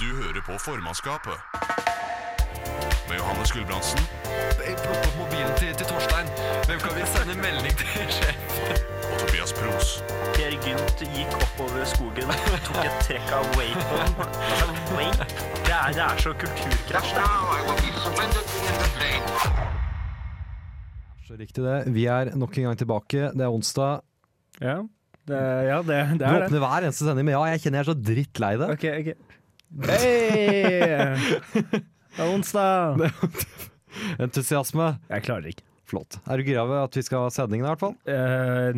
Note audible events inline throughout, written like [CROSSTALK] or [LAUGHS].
Du hører på formannskapet. Med Johannes Gulbrandsen. Plukk opp mobilen til, til Torstein. Hvem kan vi sende melding til? [LAUGHS] sjef? Og Tobias Pros. Per Gynt gikk oppover skogen, tok et trekk av wapen. Altså, wake? Det er, det er så kulturkrasj, det. Så riktig det. Vi er nok en gang tilbake. Det er onsdag. Ja, det, er- ja, det, det Du er det. åpner hver eneste sending, men ja, jeg kjenner jeg er så drittlei det. Ok, ok. Hei! Det er onsdag. Entusiasme. Jeg klarer ikke. Flott. Er du gira ved at vi skal ha sendingen, i hvert fall? Eh,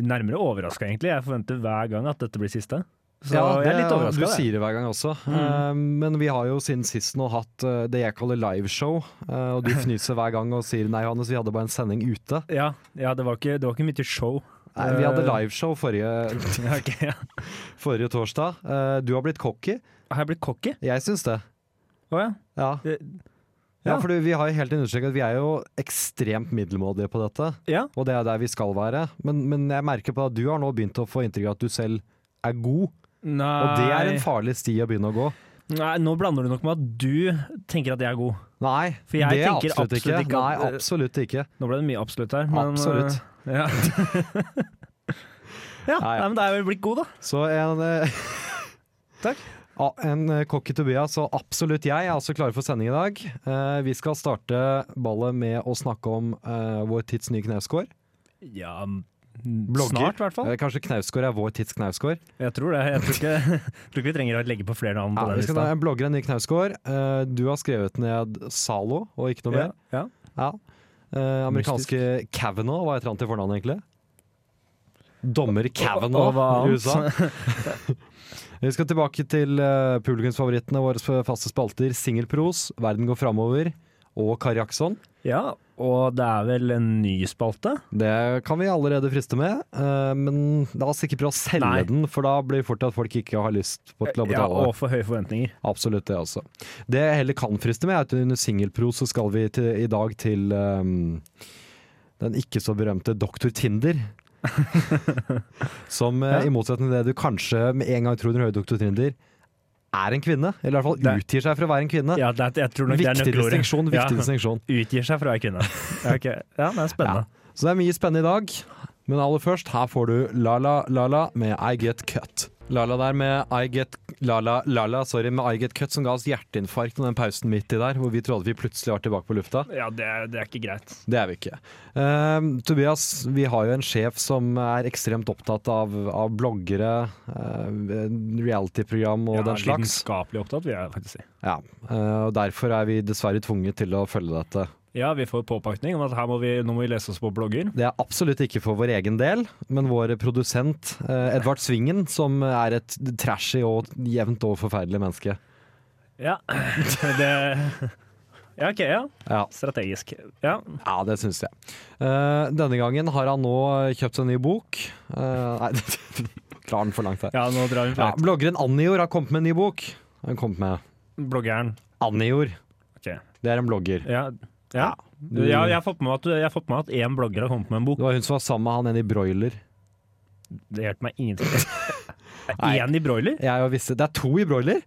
nærmere overraska, egentlig. Jeg forventer hver gang at dette blir siste. Så ja, jeg Mm. er litt overraska. Du sier det hver gang også. Eh, men vi har jo siden sist nå hatt eh, det jeg kaller liveshow, eh, og [LAUGHS] du fnyser hver gang og sier nei, Johannes, vi hadde bare en sending ute. Ja, ja det, var ikke, det var ikke mye show. [LAUGHS] Nei, vi hadde Eh, liveshow forrige, ja, ok, ja. forrige torsdag. Eh, du har blitt cocky. Har jeg blitt cocky? Jeg syns det. Å ja. Ja. Det- Ja, ja. for vi har jo helt understreket at vi er jo ekstremt middelmådige på dette. Ja. Og det er der vi skal være. Men, men jeg merker på at du har nå begynt å få inntrykk av at du selv er god. Nei. Og det er en farlig sti å begynne å gå. Nei, nå blander du nok med at du tenker at jeg er god. Nei, For jeg det er tenker absolutt, absolutt ikke. ikke at- Nei, absolutt ikke. Nå ble det mye absolutt her. Men, Absolutt. eh, [LAUGHS] ja. ja, Nei, ja. Nei, men da er jeg vel blitt god, da. Så en eh, [LAUGHS] Takk. Ja, En eh, kokk i Tobias og absolutt jeg er også klare for sending i dag. Eh, vi skal starte ballet med å snakke om eh, vår tids nye Knausgård. Ja, Blogger. snart i hvert fall. Eh, kanskje Knausgård er vår tids Knausgård. Jeg tror det. Jeg tror ikke, [LAUGHS] jeg tror ikke vi trenger å legge på flere navn på Ja, den vi skal ta lista. en blogger, Henrik Knausgård. Eh, du har skrevet ned Zalo og ikke noe Ja, mer. ja. Ja. Eh, amerikanske Kavanaugh, hva heter han til fornavn egentlig? Dommer Og- og Kavanaugh hva i annet? USA. [LAUGHS] Vi skal tilbake til eh, publikumsfavorittene våre f- faste spalter Singelpros, Verden går framover og Kari Akson. ja, og det er vel en ny spalte? Det kan vi allerede friste med, eh, men la oss ikke prøve å selge Nei. Eh, den, for da blir det fort at folk ikke har lyst på til å Ja, betale. og for høye forventninger. Absolutt det også. Det jeg heller kan friste med, er at under singelpro så skal vi til, i dag til ehm, den ikke så berømte Doktor [LAUGHS] Tinder. som eh, i motsetning til det du kanskje med en gang tror når du hører Doktor Tinder, er en kvinne. Eller i hvert fall Det- utgir seg for å være en kvinne. Ja, det, er- jeg tror nok det er viktig nøkkelordet. distinksjon, viktig Ja. distinksjon. Utgir seg for å være kvinne. [LAUGHS] Ja, ok. ja, det er spennende. Så det er mye spennende i dag. Men aller først, her får du Lala Lala med I Get Cut. Lala der med I Get Lala Lala, sorry, med I Get Cut som ga oss hjerteinfarkt med den pausen midt i der, hvor vi trodde vi plutselig var tilbake på lufta. Ja, det, er- det er ikke greit. Det er vi ikke. Ehm, Tobias, vi har jo en sjef som er ekstremt opptatt av, av bloggere, eh, reality-program og Ja, den slags. Lidenskapelig opptatt, vil jeg faktisk si. Ja, eh, og derfor er vi dessverre tvunget til å følge dette. Ja, vi får påpakning om at her må vi, nå må vi lese oss på blogger. Det er absolutt ikke for vår egen del, men vår produsent eh, Edvard Svingen, som er et trashy og jevnt over forferdelig menneske. Ja, [LAUGHS] det Ja, OK, ja. Ja, Strategisk. Ja. ja det syns jeg. Eh, denne gangen har han nå kjøpt seg en ny bok. Eh, nei, [LAUGHS] klarer den for langt her. ja, nå drar vi Ja, fra bloggeren Annior har kommet med en ny bok. Han kom med bloggeren. Annior. Ok. Det er en blogger. Ja. ja. Du, Ja, jeg har fått med meg at- jeg har fått med meg at én blogger har kommet med en bok. det var hun som var sammen med han en i broiler. Det hjelper meg ingenting. [LAUGHS] Nei. Én i broiler? Jeg har jo visst, det er to i broiler!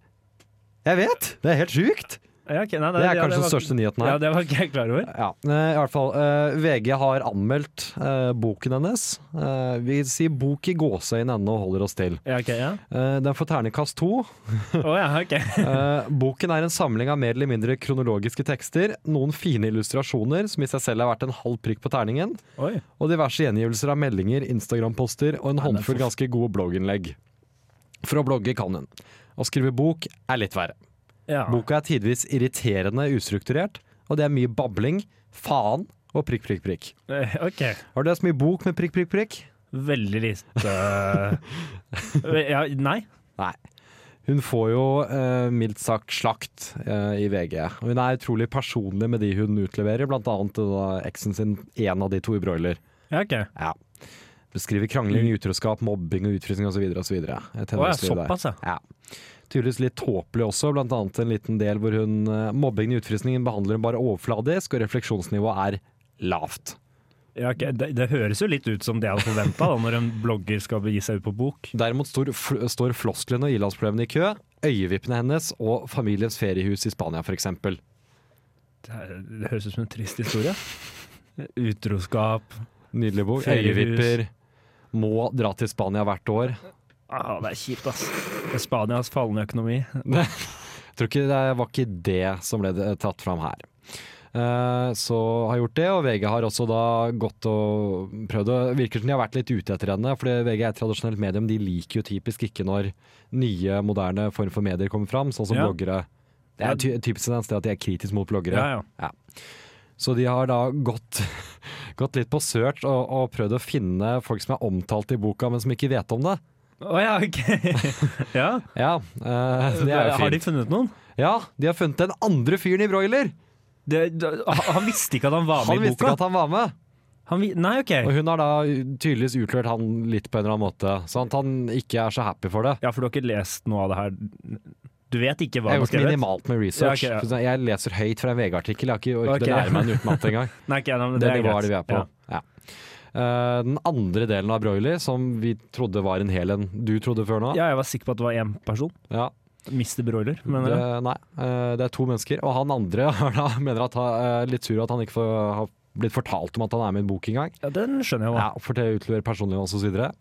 Jeg vet! Det er helt sjukt! Ja, ok, nei, Det er ja, kanskje den var- største nyheten her. Ja, det var ikke jeg klar over. Ja, eh, i hvert fall. eh, VG har anmeldt eh, boken hennes. Eh, vi sier bok i gåseøyne ennå og holder oss til. Ja, ok, ja. Eh, den får ternekast to. Å ja, ok. Eh, boken er en samling av mer eller mindre kronologiske tekster, noen fine illustrasjoner som i seg selv er verdt en halv prikk på terningen, Oi. og diverse gjengivelser av meldinger, Instagram-poster og en håndfull ganske gode blogginnlegg. For å blogge kan hun. Å skrive bok er litt verre. Ja. Boka er tidvis irriterende ustrukturert, og det er mye babling, faen og prikk, prikk, prikk. Eh, [LAUGHS] Ok. Har du lest mye bok med prikk, prikk, prikk? Veldig [LAUGHS] lite ja, Nei. Nei. Hun får jo eh, mildt sagt slakt eh, i VG. Og hun er utrolig personlig med de hun utleverer, blant annet eh, da eksen sin, en av de to i broiler. Ja, ok. Ja. Beskriver krangling, utroskap, mobbing og utfrysning osv. osv. Mm. Å, ja, såpass, ja. Ja. Tydeligvis litt tåpelig også, blant annet en liten del hvor hun eh, mobbingen i utfrysningen behandler hun bare overfladisk, og refleksjonsnivået er lavt. ja ok. Det, det høres jo litt ut som det jeg hadde forventa når en blogger skal begi seg ut på bok. Derimot står, fl står flosklene og ilandsproblemene i kø. øyevippene hennes og familiens feriehus i Spania, f.eks. Det, er, det høres ut som en trist historie. Utroskap. Nydelig bok. Feriehus. Øyevipper. Må dra til Spania hvert år. Ah, det er kjipt, ass. Spanias fallende økonomi. Jeg tror ikke det var ikke det som ble det- tatt fram her. Eh, Så har gjort det, og VG har også da gått og prøvd å Virker som de har vært litt ute etter henne, for VG er et tradisjonelt medium. De liker jo typisk ikke når nye, moderne form for medier kommer fram, sånn som Ja. bloggere. Det er ty- typisk en sted at de er kritiske mot bloggere. Ja, ja. Så de har da gått, [LAUGHS] gått litt på search og, og prøvd å finne folk som er omtalt i boka, men som ikke vet om det. Å ja, OK. [LAUGHS] ja. Ja, eh, det er jo [LAUGHS] Har de fint. funnet noen? Ja, de har funnet den andre fyren i broiler! Det, det, han visste ikke at han var med Han i visste ikke boka. at han var med. Han vi, nei, OK. Og hun har da tydeligvis utlørt han litt på en eller annen måte, sånn at han ikke er så happy for det. Ja, for du har ikke lest noe av det her? Du vet ikke hva Jeg har han har gjort skrevet? minimalt med research. Ja, ok, Jeg leser høyt fra en VG-artikkel, jeg har ikke orket Ok. å lære meg den utenat engang. Nei, ikke jeg, [LAUGHS] men Det det, er nivået er det vi greit. er på. Ja. Eh, den andre delen av broiler, som vi trodde var en hel en du trodde før nå. Ja. ja, jeg var sikker på at det var én person. Ja. Mister broiler, mener Det, jeg. nei, eh, det er to mennesker, og han andre [LAUGHS] har da, mener at han er litt sur at han ikke får, har blitt fortalt om at han er med i en bok engang. Ja, den skjønner jeg jo. Ja, for det utleverer personlig og så videre.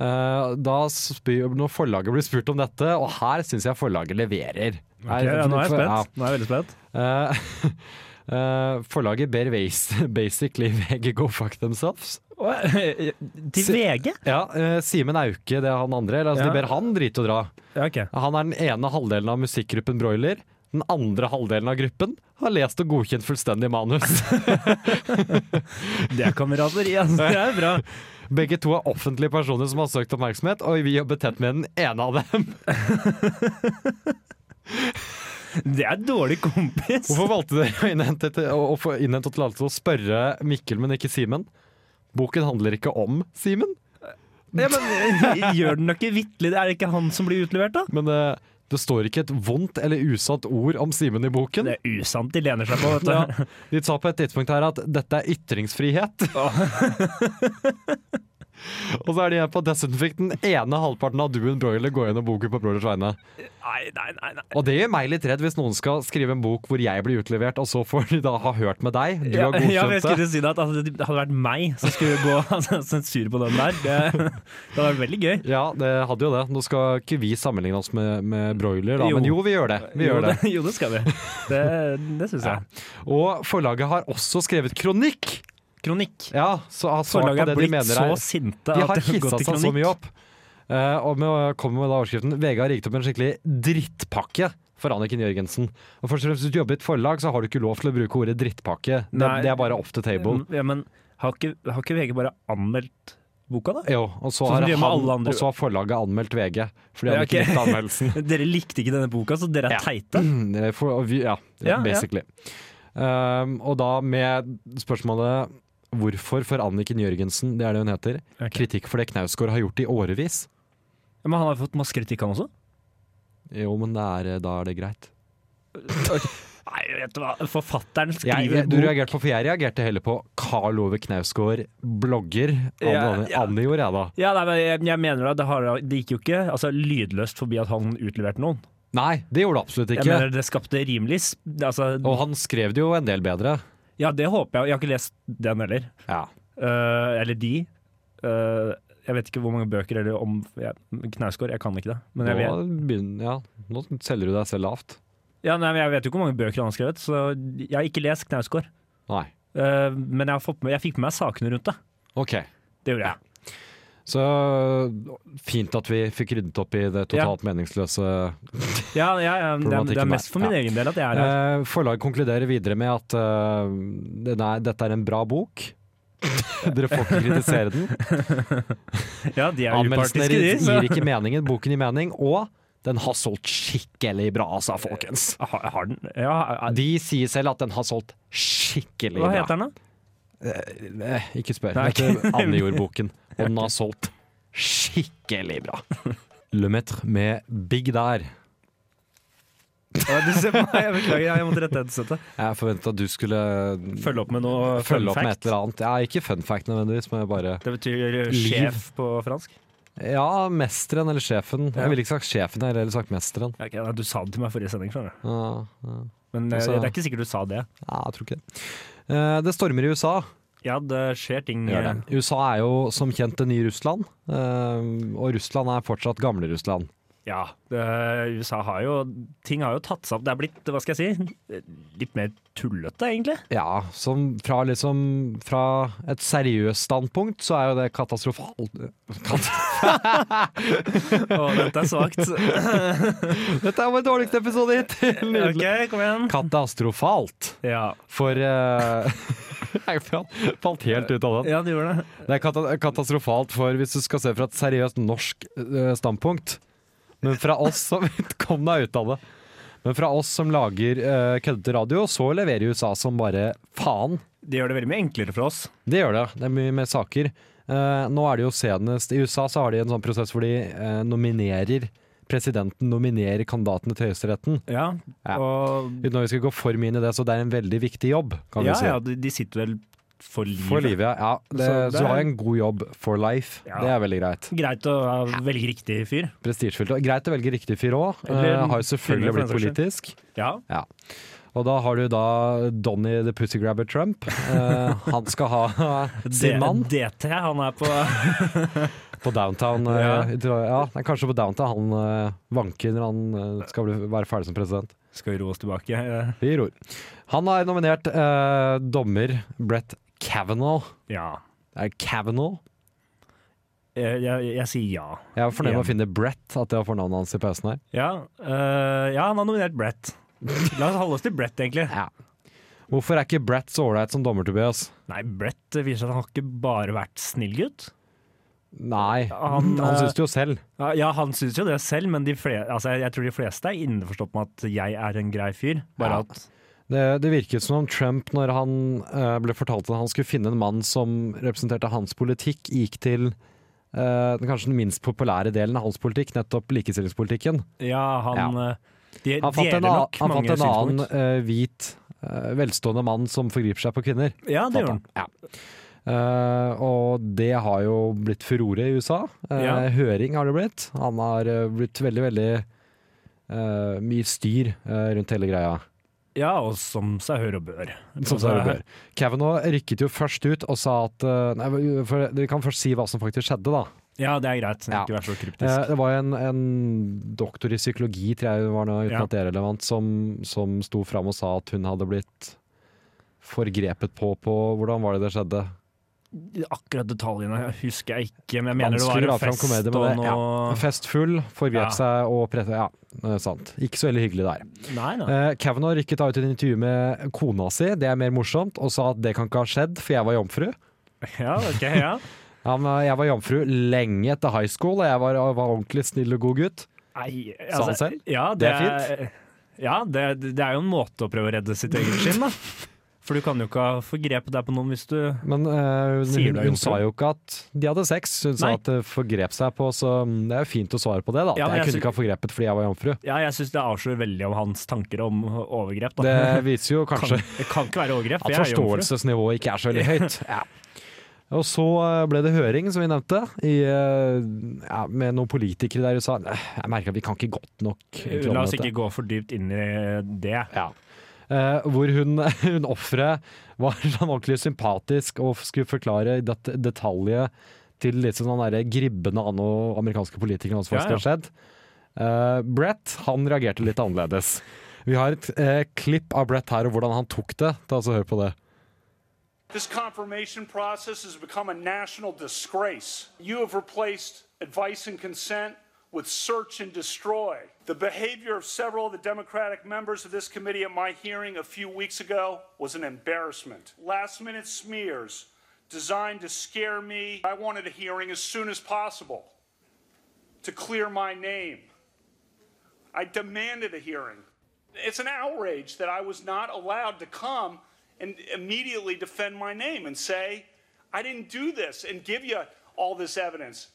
Eh, da spyr, når forlaget blir spurt om dette, og her syns jeg forlaget leverer. Ok, ja, nå er jeg spent. Nå er jeg veldig spent. Ja. Eh, [LAUGHS] eh, forlaget ber Vase- [LAUGHS] basically VG go fuck themselves. Å, [LAUGHS] Til Se- VG? Ja, eh, Simen Auke, det er han andre. Eller, altså, Ja. De ber han drite og dra. Ja, OK. Han er den ene halvdelen av musikkgruppen Broiler. Den andre halvdelen av gruppen har lest og godkjent fullstendig manus. [LAUGHS] Det er kamerateri, altså. Det er bra. Begge to er offentlige personer som har søkt oppmerksomhet, og vi jobber tett med den ene av dem. Det er dårlig kompis. Hvorfor valgte dere å innhente, til, å, å få innhente tillatelse til å spørre Mikkel, men ikke Simen? Boken handler ikke om Simen, Ja, men, [LAUGHS] gjør den da ikke vitterlig? Er det ikke han som blir utlevert, da? men eh, det står ikke et vondt eller usant ord om Simen i boken. Det er usant de lener seg på, vet du. Ja, de sa på et tidspunkt her at dette er ytringsfrihet. [LAUGHS] Og så er de her på dessuten fikk den ene halvparten av Duen Broiler gå gjennom boken på Broilers vegne. [LAUGHS] Nei, nei, nei. nei. Og det gjør meg litt redd hvis noen skal skrive en bok hvor jeg blir utlevert, og så får de da ha hørt med deg. Du har Ja, [LAUGHS] ja, men jeg godkjent det. skulle si det at altså, det hadde vært meg som skulle gå altså, [LAUGHS] sensur på den der. Det, det hadde vært veldig gøy. Ja, det hadde jo det. Nå skal ikke vi sammenligne oss med, med broiler, da, Jo. men jo, vi gjør det. Vi gjør det. [LAUGHS] Jo, det skal vi. Det, det syns jeg. Og forlaget har også skrevet kronikk! Kronikk. Ja, så har svart på Forlaget er det de blitt mener så er sinte De at har det har hissa gått til seg så mye kronikk. opp. Eh, og med å komme med da overskriften VG har rigget opp en skikkelig drittpakke for Anniken Jørgensen. Og først og fremst, Hvis du jobber i et forlag, så har du ikke lov til å bruke ordet drittpakke. Det, Nei. Mm. det er bare off the table. Ja, men har ikke, har ikke VG bare anmeldt boka, da? Jo, og så Sånn har, som de gjør med han, alle andre. og så har forlaget anmeldt VG, for de Ja, hadde ok. ikke likt anmeldelsen. [LAUGHS] Dere likte ikke denne boka, så dere er Ja. teite. [CLEARS THROAT] Mm, For, og vi, ja, Ja, ja. basically. Um, og da med spørsmålet Hvorfor for Anniken Jørgensen, det er det hun heter, Ok. kritikk for det Knausgård har gjort i årevis? Ja, Men han har fått masse kritikk, han også? Jo, men det er, eh, da er det greit. Nei, vet du hva. Forfatteren Jeg, skriver du bok. reagerte på, for jeg reagerte heller på Karl Ove Knausgård, blogger. Anne, Ja, Anne, ja. Anne gjorde jeg da. Ja, nei, men jeg, jeg mener at det, har, det gikk jo ikke altså, lydløst forbi at han utleverte noen. Nei, det gjorde det absolutt Jeg ikke. mener Det skapte rimelig sp- altså, Og han skrev det jo en del bedre. Ja, det håper jeg. Jeg har ikke lest den heller. Ja. Eh, eller de. Eh, jeg vet ikke hvor mange bøker eller om jeg, Knausgård, jeg kan ikke det. Men jeg vet, Nå, begynner, ja. Nå selger du deg selv lavt. ja, nei, men jeg vet jo ikke hvor mange bøker han har skrevet, så jeg har ikke lest Knausgård. Nei. Eh, men jeg, har fått med, jeg fikk med meg sakene rundt det. OK. Det gjorde jeg. Så fint at vi fikk ryddet opp i det totalt meningsløse. Ja, ja, ja, det, er, det Problematikken er mest for min der, egen del at jeg er her. Eh, Forlaget konkluderer videre med at eh, den er, dette er en bra bok. [LAUGHS] Dere får ikke kritisere den. Ja, de er Anmeldelsene upartiske, de. gir Så. gir ikke meningen, boken gir mening. Og den har solgt skikkelig bra, altså, folkens. Ah, Har, har den ja, er- De sier selv at den har solgt skikkelig Hva bra. heter den, da? Eh, Ikke spør. Nei, Det ok. heter Andejord-boken. Og den har solgt skikkelig bra. Le Maître med Big Der. Å, du ser på meg, jeg beklager, jeg måtte rette headsetet. Jeg forventa du skulle Følge opp med noe følge opp med et fact. eller annet. Ja, ikke fun fact nødvendigvis, men bare Det betyr Liv. sjef på fransk. Ja, mesteren eller sjefen. Ja. Jeg ville ikke sagt sjefen, jeg ville heller sagt mesteren. Ja, ok, nei, du sa det til meg forrige sending, skjønner du. Ja, ja. Men eh, Altså- det er ikke sikkert du sa det. Ja, jeg tror ikke det. Eh, Det stormer i USA. Ja, det skjer ting. eh, Gjør det. USA er jo som kjent det nye Russland, eh, og Russland er fortsatt gamle Russland. Ja, det, USA har jo Ting har jo tatt seg opp. Det er blitt, hva skal jeg si, litt mer tullete, egentlig. Ja, som fra, liksom, fra et seriøst standpunkt så er jo det katastrofalt. Kat [LAUGHS] Å, dette er svakt. Dette er vår dårligste episode hittil! OK, Nydelig. kom igjen. Katastrofalt Ja. for eh, [LAUGHS] Jeg falt helt ut av den. ja, du gjorde det. Det er kata katastrofalt for hvis du skal se fra et seriøst norsk eh, standpunkt. Men fra oss som [LAUGHS] Kom deg ut av det. Men fra oss som lager eh, køddete radio, så leverer USA som bare faen. Det gjør det veldig mye enklere for oss. Det gjør det. Det er mye mer saker. Eh, nå er det jo senest I USA så har de en sånn prosess hvor de eh, nominerer Presidenten nominerer kandidatene til Høyesteretten. Ja, Ja. og Uten at vi skal gå for mye inn i det, så det er en veldig viktig jobb. Kan ja, vi si. ja, de, de sitter vel for livet. For livet, ja. ja det, Så det så du har er- en god jobb for life. Ja. Det er veldig greit. Greit å ha- velge riktig fyr. Prestisjefullt. Og Greit å velge riktig fyr òg. Eller- har jo selvfølgelig eller blitt for den politisk. Ja. Ja. Og da har du da Donny the Pussygrabber Trump. Eh, han skal ha [LAUGHS] sin mann DT, han er på [LAUGHS] på downtown. eh, Ja. jeg tror- ja, det er kanskje på downtown han eh, vanker når han eh, skal bli, være ferdig som president. Skal vi roe oss tilbake? eh? Vi gir ord. Han har nominert eh, dommer Brett Kavanaugh. Ja. Er det Kavanaugh? Jeg, jeg, jeg sier ja. Jeg var fornøyd med å Ja. finne Brett, at jeg har fornavnet hans i pausen her. Ja, eh, ja, han har nominert Brett. La oss holde oss til Brett, egentlig. Ja. Hvorfor er ikke Brett så ålreit som dommer, Tobias? Nei, Brett viser seg at han har ikke bare vært snill gutt. Nei, Han, han eh, syns det jo selv. Ja, Ja, han syns jo det selv, men de fle- altså, jeg tror de fleste er innforstått med at jeg er en grei fyr. Bare Ja. at Det, det virket som om Trump, når han eh, ble fortalt at han skulle finne en mann som representerte hans politikk, gikk til eh, den kanskje den minst populære delen av hans politikk, nettopp likestillingspolitikken. Ja, han Ja. eh, De Han fant deler en, a- nok han fant mange en annen synspunkt. eh, hvit, eh, velstående mann som forgriper seg på kvinner. Ja, fant det gjør han. Ja. han. Eh, og det har jo blitt furore i USA. Eh, Ja. Høring har det blitt. Han har eh, blitt veldig, veldig eh, mye styr eh, rundt hele greia. Ja, og som seg hør og bør. Som Altså, sa det bør. Kavanaugh rykket jo først ut og sa at eh, Nei, for Vi kan først si hva som faktisk skjedde, da. Ja, det er greit. Ja. Ikke vær så kryptisk. Eh, Det var jo en, en doktor i psykologi, tror jeg hun var nå, uten Ja. at det er relevant, som, som sto fram og sa at hun hadde blitt forgrepet på på Hvordan var det det skjedde? Akkurat detaljene husker jeg ikke, men jeg mener det var Vanskelig å en dra fram fest komedie med og det. noe Festfull, forgrep Ja. seg og presse... Ja, eh, sant. Ikke så veldig hyggelig der. Nei, nei. Eh, Kavanaugh rykket da ut i et intervju med kona si, det er mer morsomt, og sa at det kan ikke ha skjedd, for jeg var jomfru. Ja, ok, ja. Ja, men jeg var jomfru lenge etter high school, og jeg var, var ordentlig snill og god gutt. Nei, altså, Sa han selv? Ja, det, Det er er fint. Ja, det, det er jo en måte å prøve å redde sitt eget skinn, [LAUGHS] da. For du kan jo ikke ha forgrepet deg på noen hvis du Men eh, hun, Sier du det er hun jomfru? sa jo ikke at de hadde sex. Hun sa Nei. at det forgrep seg på, så mm, det er jo fint å svare på det, da. Ja, At men jeg, jeg kunne ikke ha forgrepet fordi jeg var [LAUGHS] jomfru. Ja, jeg syns det avslører veldig om hans tanker om overgrep, da. Det viser jo kan, kanskje det kan ikke være overgrep. at jeg er jomfru. forståelsesnivået ikke er så veldig høyt. [LAUGHS] Ja. Og så eh, ble det høring, som vi nevnte, i, eh, ja, med noen politikere der i USA. Eh, Jeg merker at vi kan ikke godt nok. egentlig om Eh, La oss dette. ikke gå for dypt inn i det. Ja. Eh, hvor hun, [LAUGHS] hun offeret var [LAUGHS] sånn ordentlig sympatisk og skulle forklare i det, detaljet til litt sånn den derre gribbende anno amerikanske politikere hans Ja, ja. har skjedd. Eh, Brett han reagerte litt annerledes. Vi har et eh, klipp av Brett her og hvordan han tok det. Ta altså Hør på det. This confirmation process has become a national disgrace. You have replaced advice and consent with search and destroy. The behavior of several of the Democratic members of this committee at my hearing a few weeks ago was an embarrassment. Last minute smears designed to scare me. I wanted a hearing as soon as possible to clear my name. I demanded a hearing. It's an outrage that I was not allowed to come and immediately defend my name and say, I didn't do this and give you all this evidence.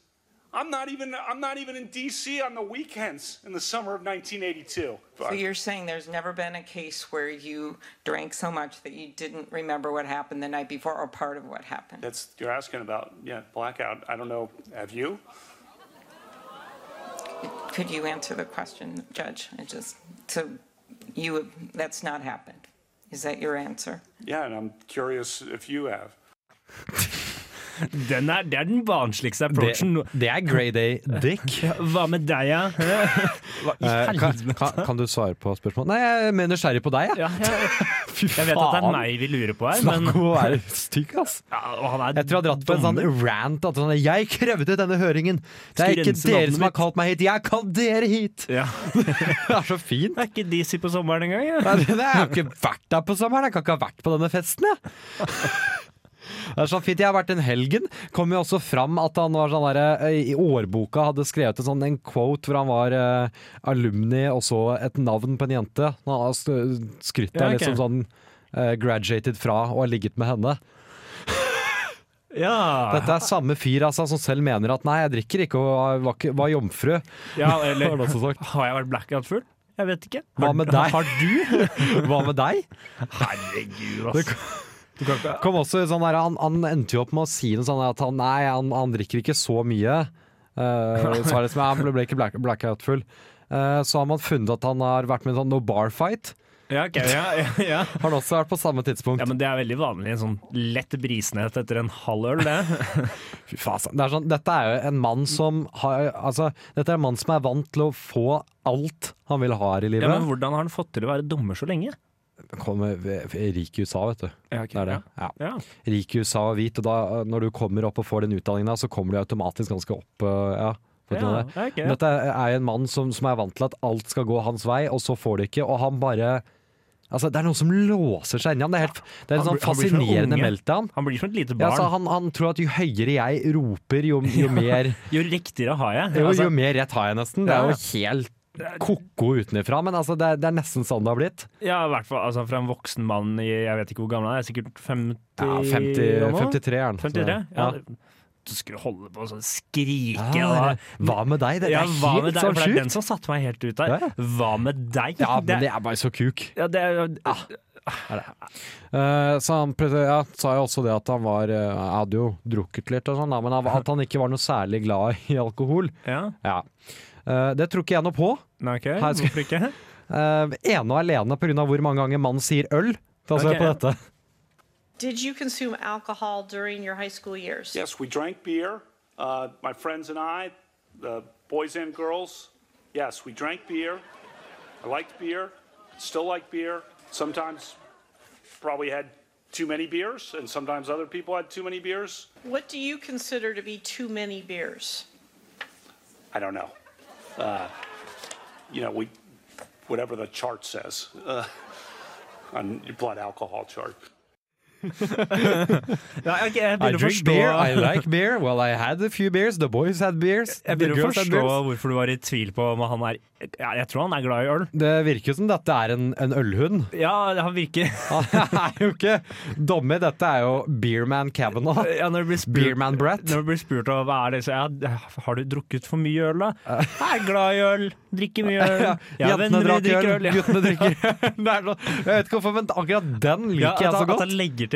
I'm not even, I'm not even in DC on the weekends in the summer of 1982. So you're saying there's never been a case where you drank so much that you didn't remember what happened the night before or part of what happened? That's, you're asking about, yeah, blackout. I don't know. Have you? Could you answer the question, Judge? I just, so you, that's not happened. Is that your answer? Yeah, and I'm curious if you have. Den er, det er den barnsligste Det, approachen. det er Grade A dick. Hva med deg, [LAUGHS] [LAUGHS] ja? Hva i Eh, kan, helvete? kan, kan du svare på spørsmål? Nei, jeg er mer nysgjerrig på deg, jeg. Ja, jeg, jeg vet at det er meg vi lurer på her, Snakk men om å være stygg, ass. ja, og han er Jeg tror jeg har dratt på en sånn dommer. rant. At sånn, jeg krevde denne høringen! Det er Skulle ikke rense dere navnet som har mitt. kalt meg hit, jeg har kalt dere [LAUGHS] hit! ja. Det er så fint! Det er ikke DC på sommeren engang. Ja. Nei, Jeg har ikke vært der på sommeren, jeg kan ikke ha vært på denne festen, jeg. [LAUGHS] Det er så fint, Jeg har vært den helgen. Kom jo også fram at han var sånn der, eh, i årboka hadde skrevet en, sånn, en quote hvor han var eh, alumni og så et navn på en jente. Han har st- skrytt av Ja, ok. liksom sånn eh, graduated fra og har ligget med henne. Ja. Dette er samme fyr altså, som selv mener at nei, jeg drikker ikke og var, ikke- var jomfru. ja, Har eller han også sagt. har jeg vært blackout full? Jeg vet ikke. Hva med deg? Har du? [LAUGHS] Hva med deg? Herregud, altså. Du kan ikke Kom også, i sånn der, han, han endte jo opp med å si noe sånn at han, nei, han, han drikker ikke så mye. [LAUGHS] Eh, så er det som, han ble, ble ikke black, blackout-full. Eh, så har man funnet at han har vært med i en sånn no bar fight. Ja, ok, ja, ja, ja. Har han også vært på samme tidspunkt. ja, men det er veldig vanlig. En sånn lett brisenhet etter en halv øl, det. [LAUGHS] Fy faen, altså. det er sånn, dette er jo en mann som har altså, Dette er en mann som er vant til å få alt han vil ha her i Ja, livet. men hvordan har han fått til å være dommer så lenge? Kommer ved- ved- rik i USA, vet du. Ja, ok, det er det. Ja. Ja. rik i USA og hvit, og da, eh, når du kommer opp og får den utdanningen, der, så kommer du automatisk ganske opp. eh, Ja, vet du Ja, det? ja, ok. Men Dette er jo en mann som, som er vant til at alt skal gå hans vei, og så får det ikke, og han bare Altså, det er noe som låser seg inni ham. Det er, helt, det er en Han sånn blir- han blir som en fascinerende unge. meltdown. Han blir som et lite Ja, barn. så han, han tror at jo høyere jeg roper, jo, [LAUGHS] jo mer Jo riktigere har jeg. jo, Altså, jo mer rett har jeg nesten. Det er jo helt ko-ko utenfra, men altså, det, er, det er nesten sånn det har blitt. Ja, i hvert fall altså, fra en voksen mann i jeg vet ikke hvor gammel han er, sikkert 50 Ja, 50, eller noe? 53 er han. så- 53? Ja. Ja. Du skulle holde på sånn skrike Ja, og hva med deg? Det, det ja, er hva med helt deg? sånn For det sjukt. er den som satte meg helt ut Ja, der. ja. Hva med deg? Ja, [LAUGHS] det, men det er Ah. bare så kuk. ja, det er, Eh, så han prøvde, ja, sa jo også det at han var eh, Han hadde jo drukket litt og sånn, da, men han- at han ikke var noe særlig glad i alkohol. ja. Ja. Eh, det tror ikke jeg noe på. Nei, ok, Her skal- hvorfor ikke? Uh, ene og alene pga. hvor mange ganger mannen sier øl. Da ser jeg Ok. på dette. Did you consume alcohol during your high school years? Yes, we drank beer. Uh, my friends and I, the boys and girls. Yes, we drank beer. I liked beer. Still like beer. Sometimes probably had too many beers, and sometimes other people had too many beers. What do you consider to be too many beers? I don't know. Uh, you know, we whatever the chart says uh, on your blood alcohol chart. Ja, ok, jeg I begynner å drink forstå, beer, I like beer. Well, I had a few beers. The boys had beers. [LAUGHS] jeg the begynner å girls had forstå beers. hvorfor du var i tvil på om han er ja, Jeg tror han er glad i øl. Det virker jo som dette er en, en ølhund. [LAUGHS] Ja, han virker [LAUGHS] Han er jo ikke dommer, dette er jo Beerman Cavanagh. ja, når, du blir spurt, Beerman Brett. Eh, når du blir spurt om hva er det så, ja, Har du drukket for mye øl, da? [LAUGHS] Jeg er glad i øl, drikker mye øl. Jeg har Jentene venner drakk de øl, drikker øl. ja. [LAUGHS] guttene drikker øl. Det er så- Jeg vet ikke hvorfor, men akkurat den liker Ja, at, jeg så han, at godt. han [LAUGHS] legger til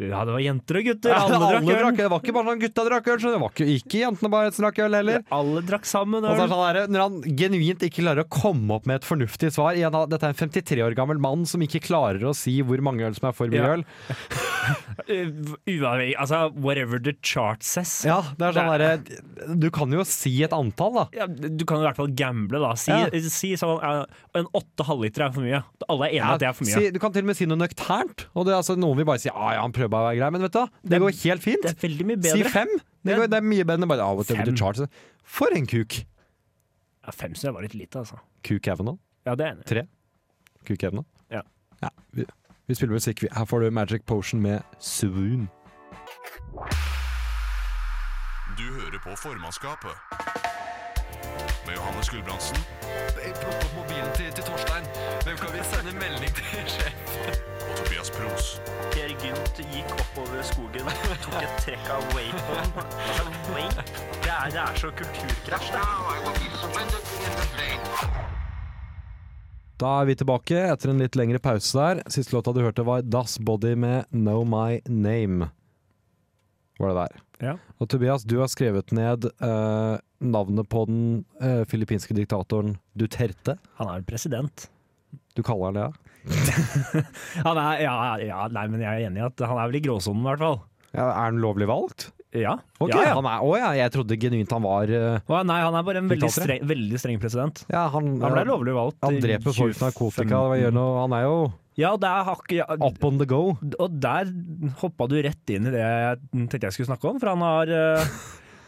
Ja, det var jenter og gutter. Ja, Alle, drakk øl. Det var ikke bare sånn gutta drakk øl, så det var ikke, ikke jentene bare som drakk øl heller. Alle drakk sammen Og så er øl. det sånn der, når han genuint ikke klarer å komme opp med et fornuftig svar igjen, da, Dette er en 53 år gammel mann som ikke klarer å si hvor mange øl som er for mye Ja. øl. Uh, Uavhengig Altså, whatever the chart says. Ja, det er sånn derre Du kan jo si et antall, da. Ja, du kan i hvert fall gamble, da. Si, Ja. si sånn uh, En åtte halvliter er for mye. Alle er enige at det er for mye. si, du kan til og med si noe nøkternt. Og det, er altså, noen vil bare si ja, ja, han prøver bare å være grei, men vet du hva, det går helt fint. det er veldig mye Si bedre. fem. Det, går, det er mye bedre enn bare av og til Fem. til Charles. For en kuk! Ja, fem syns jeg var litt lite, altså. Kuk Evan òg. Ja, det er jeg enig. i. Tre. Kuk Evan òg. Ja. vi, vi spiller musikk. vi. Her får du Magic Potion med Swoon. Du hører på formannskapet. Med Johannes Gulbrandsen. Plukk opp mobilen til, til Torstein. Hvem kan vi sende melding til? sjef? Og Tobias Pros. Per Gynt gikk oppover skogen, tok et trekk av Waypon. Wait, det er, det er så kulturkrasj, det. Da er vi tilbake etter en litt lengre pause der. Siste låta du hørte, var Das Body med Know My Name. Var det der. Ja. Og Tobias, du har skrevet ned eh, navnet på den eh, filippinske diktatoren Duterte. Han er president. Du kaller han det? ja? Han er, ja, ja, nei, men jeg er enig i at han er vel i gråsonen, i hvert fall. Ja, er han lovlig valgt? Ja. Ok, ja, ja. Han er, å ja, jeg trodde genuint han var eh, Å, nei, han er bare en veldig Diktator, ja. streng, veldig streng president. ja, han, Han ble lovlig valgt. Han i dreper folk med 25. narkotika. hva gjør noe- Han er jo Ja, det er hakk... Ja, up on the go. og der hoppa du rett inn i det jeg tenkte jeg skulle snakke om, for han har [LAUGHS] eh,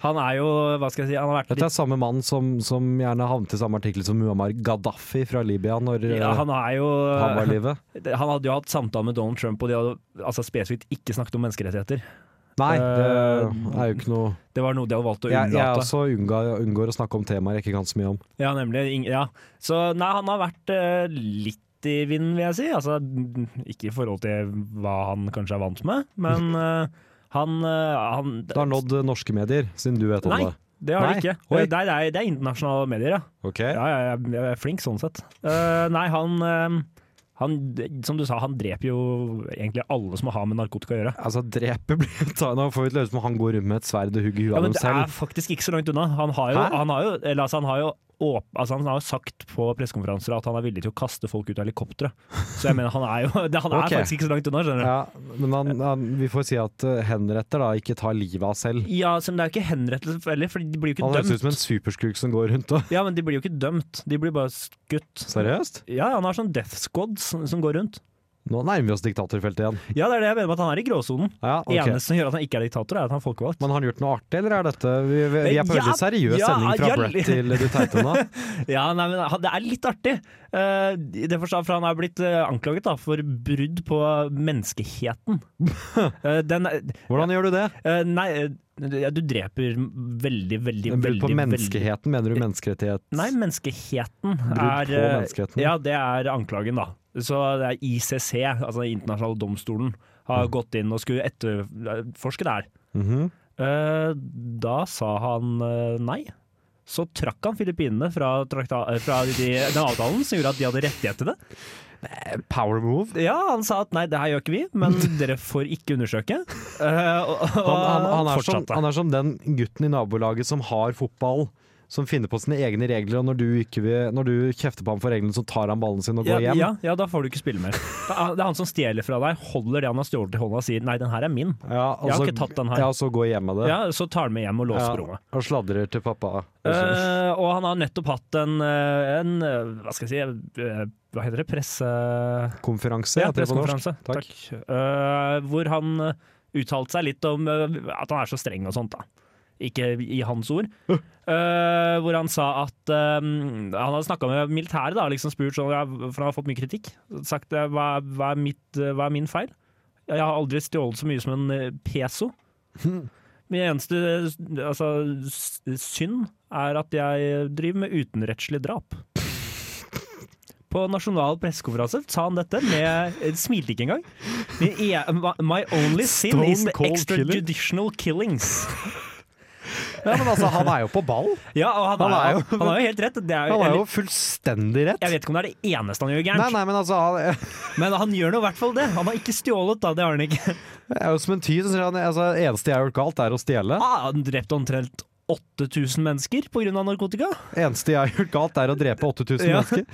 Han er jo, hva skal jeg si, han har vært Dette er samme mann som, som gjerne havnet i samme artikkel som Muammar Gaddafi fra Libya når litt eh, ja, Han er jo han var i live. Han hadde jo hatt samtale med Donald Trump, og de hadde altså, spesifikt ikke snakket om menneskerettigheter. Nei, det Eh, er jo ikke [LAUGHS] noe Det var noe de hadde valgt å Jeg, jeg unnlate. også unngår, unngår å snakke om temaer jeg ikke kan så mye om. Ja, nemlig. Ing- Ja. Så nei, han har vært eh, litt i vinden, vil jeg si. Altså, n- ikke i forhold til hva han kanskje er vant med, men [LAUGHS] eh, han, eh, han Det har nådd eh, norske medier, siden du vet om Nei, det. det har Nei, de ikke. Eh, oi. Det er, det, er, det er internasjonale medier, ja. Ok, Ja, ja, ja, jeg er flink sånn sett. Eh, nei, han, eh, han Som du sa, han dreper jo egentlig alle som har med narkotika å gjøre. Altså, drepe blir [LAUGHS] jo ta- Nå får vi et løse med han går rundt med et sverd og hugger huet Ja, av men dem det er selv. faktisk ikke så langt unna. Han har jo, Hæ? han har jo, eller, altså, han har jo åp altså, han har jo sagt på pressekonferanser at han er villig til å kaste folk ut av helikoptre. Så jeg mener, han er jo [LAUGHS] det, Han er Ok. faktisk ikke så langt unna, skjønner du. Ja. Ja, men han, han, vi får si at eh, henretter da ikke tar livet av selv. så, men det er jo ikke henrettelse heller, for de blir jo Han ikke høres ut dømt. som en superskurk som går rundt og [LAUGHS] Ja, men de blir jo ikke dømt. De blir bare skutt. Seriøst? Ja, han har sånn death squad som, som går rundt. Nå nærmer vi oss diktatorfeltet igjen. Ja, det er det jeg mener med at han er i gråsonen. Ja, ok. Eneste som gjør at han ikke er diktator, er at han er folkevalgt. Men har han gjort noe artig, eller er dette Vi, vi, vi er på Ja, veldig seriøs ja, sending fra ja, Brett til Duterte [LAUGHS] nå. Ja, nei, men han- Det er litt artig. Eh, I den forstand, for han er blitt eh, anklaget da, for brudd på [LAUGHS] menneskeheten. Eh, den er- Hvordan gjør du det? eh, Nei, eh, ja, du dreper veldig, veldig, veldig Brudd på veldig- Eh, menneskeheten, mener du menneskerettighet? Nei, menneskeheten Brudd på er eh, menneskeheten. Ja, det er anklagen, da. Så det er ICC, altså den internasjonale domstolen, har gått inn og skulle etterforske det her. Mhm. Eh, Da sa han eh, nei. Så trakk han Filippinene fra, trakta, eh, fra de, den avtalen som gjorde at de hadde rettighet til det. Power move? Ja, han sa at nei, det her gjør ikke vi, [LAUGHS] men dere får ikke undersøke. Eh, og, og Han, han, han, er som, fortsatte. han er som den gutten i nabolaget som har fotball, som finner på sine egne regler, og når du, ikke vil, når du kjefter på ham for reglene, så tar han ballen sin og ja, går hjem. ja, ja, da får du ikke spille mer. Det er det er han som stjeler fra deg, holder det han har stjålet i hånda og sier 'nei, den her er min'. Ja, og Jeg har så- ikke tatt den her. Ja, og så går hjem med det. Ja, Så tar han med hjem og låser Ja, rommet. og sladrer til pappa. Eh, og han har nettopp hatt en, eh, en eh, hva skal jeg si, eh, hva heter det, presse... Konferanse, ja, heter det på norsk. pressekonferanse. Takk. Eh, hvor han eh, uttalte seg litt om eh, at han er så streng og sånt, da. Ikke i hans ord. Eh, hvor han sa at eh, Han hadde snakka med militæret, da, liksom spurt sånn, ja, for han har fått mye kritikk. Sagt eh, hva, hva, er mitt, eh, hva er min feil? Jeg har aldri stjålet så mye som en eh, peso. [LAUGHS] Min eneste eh, altså, s- synd er at jeg driver med utenrettslig drap. På nasjonal pressekonferanse sa han dette med eh, Smilte ikke engang. Min e- My only sin Stone is cold extrajudicial killings. Ja, men altså, han er jo på ball! Ja, og han, Han er er, jo- jo, han har jo helt rett. Det er, Han er jo eller, fullstendig rett. jeg vet ikke om det er det eneste han gjør Nei, gærent, nei, men altså, han, [LAUGHS] men han gjør nå i hvert fall det. Han har ikke stjålet, da. Det har han ikke. jeg er jo som en tyv som sier han altså, eneste jeg har gjort galt, er å stjele. Ah, han drepte omtrent 8000 mennesker pga. narkotika. Eneste jeg har gjort galt, er å drepe 8000 Ja. mennesker.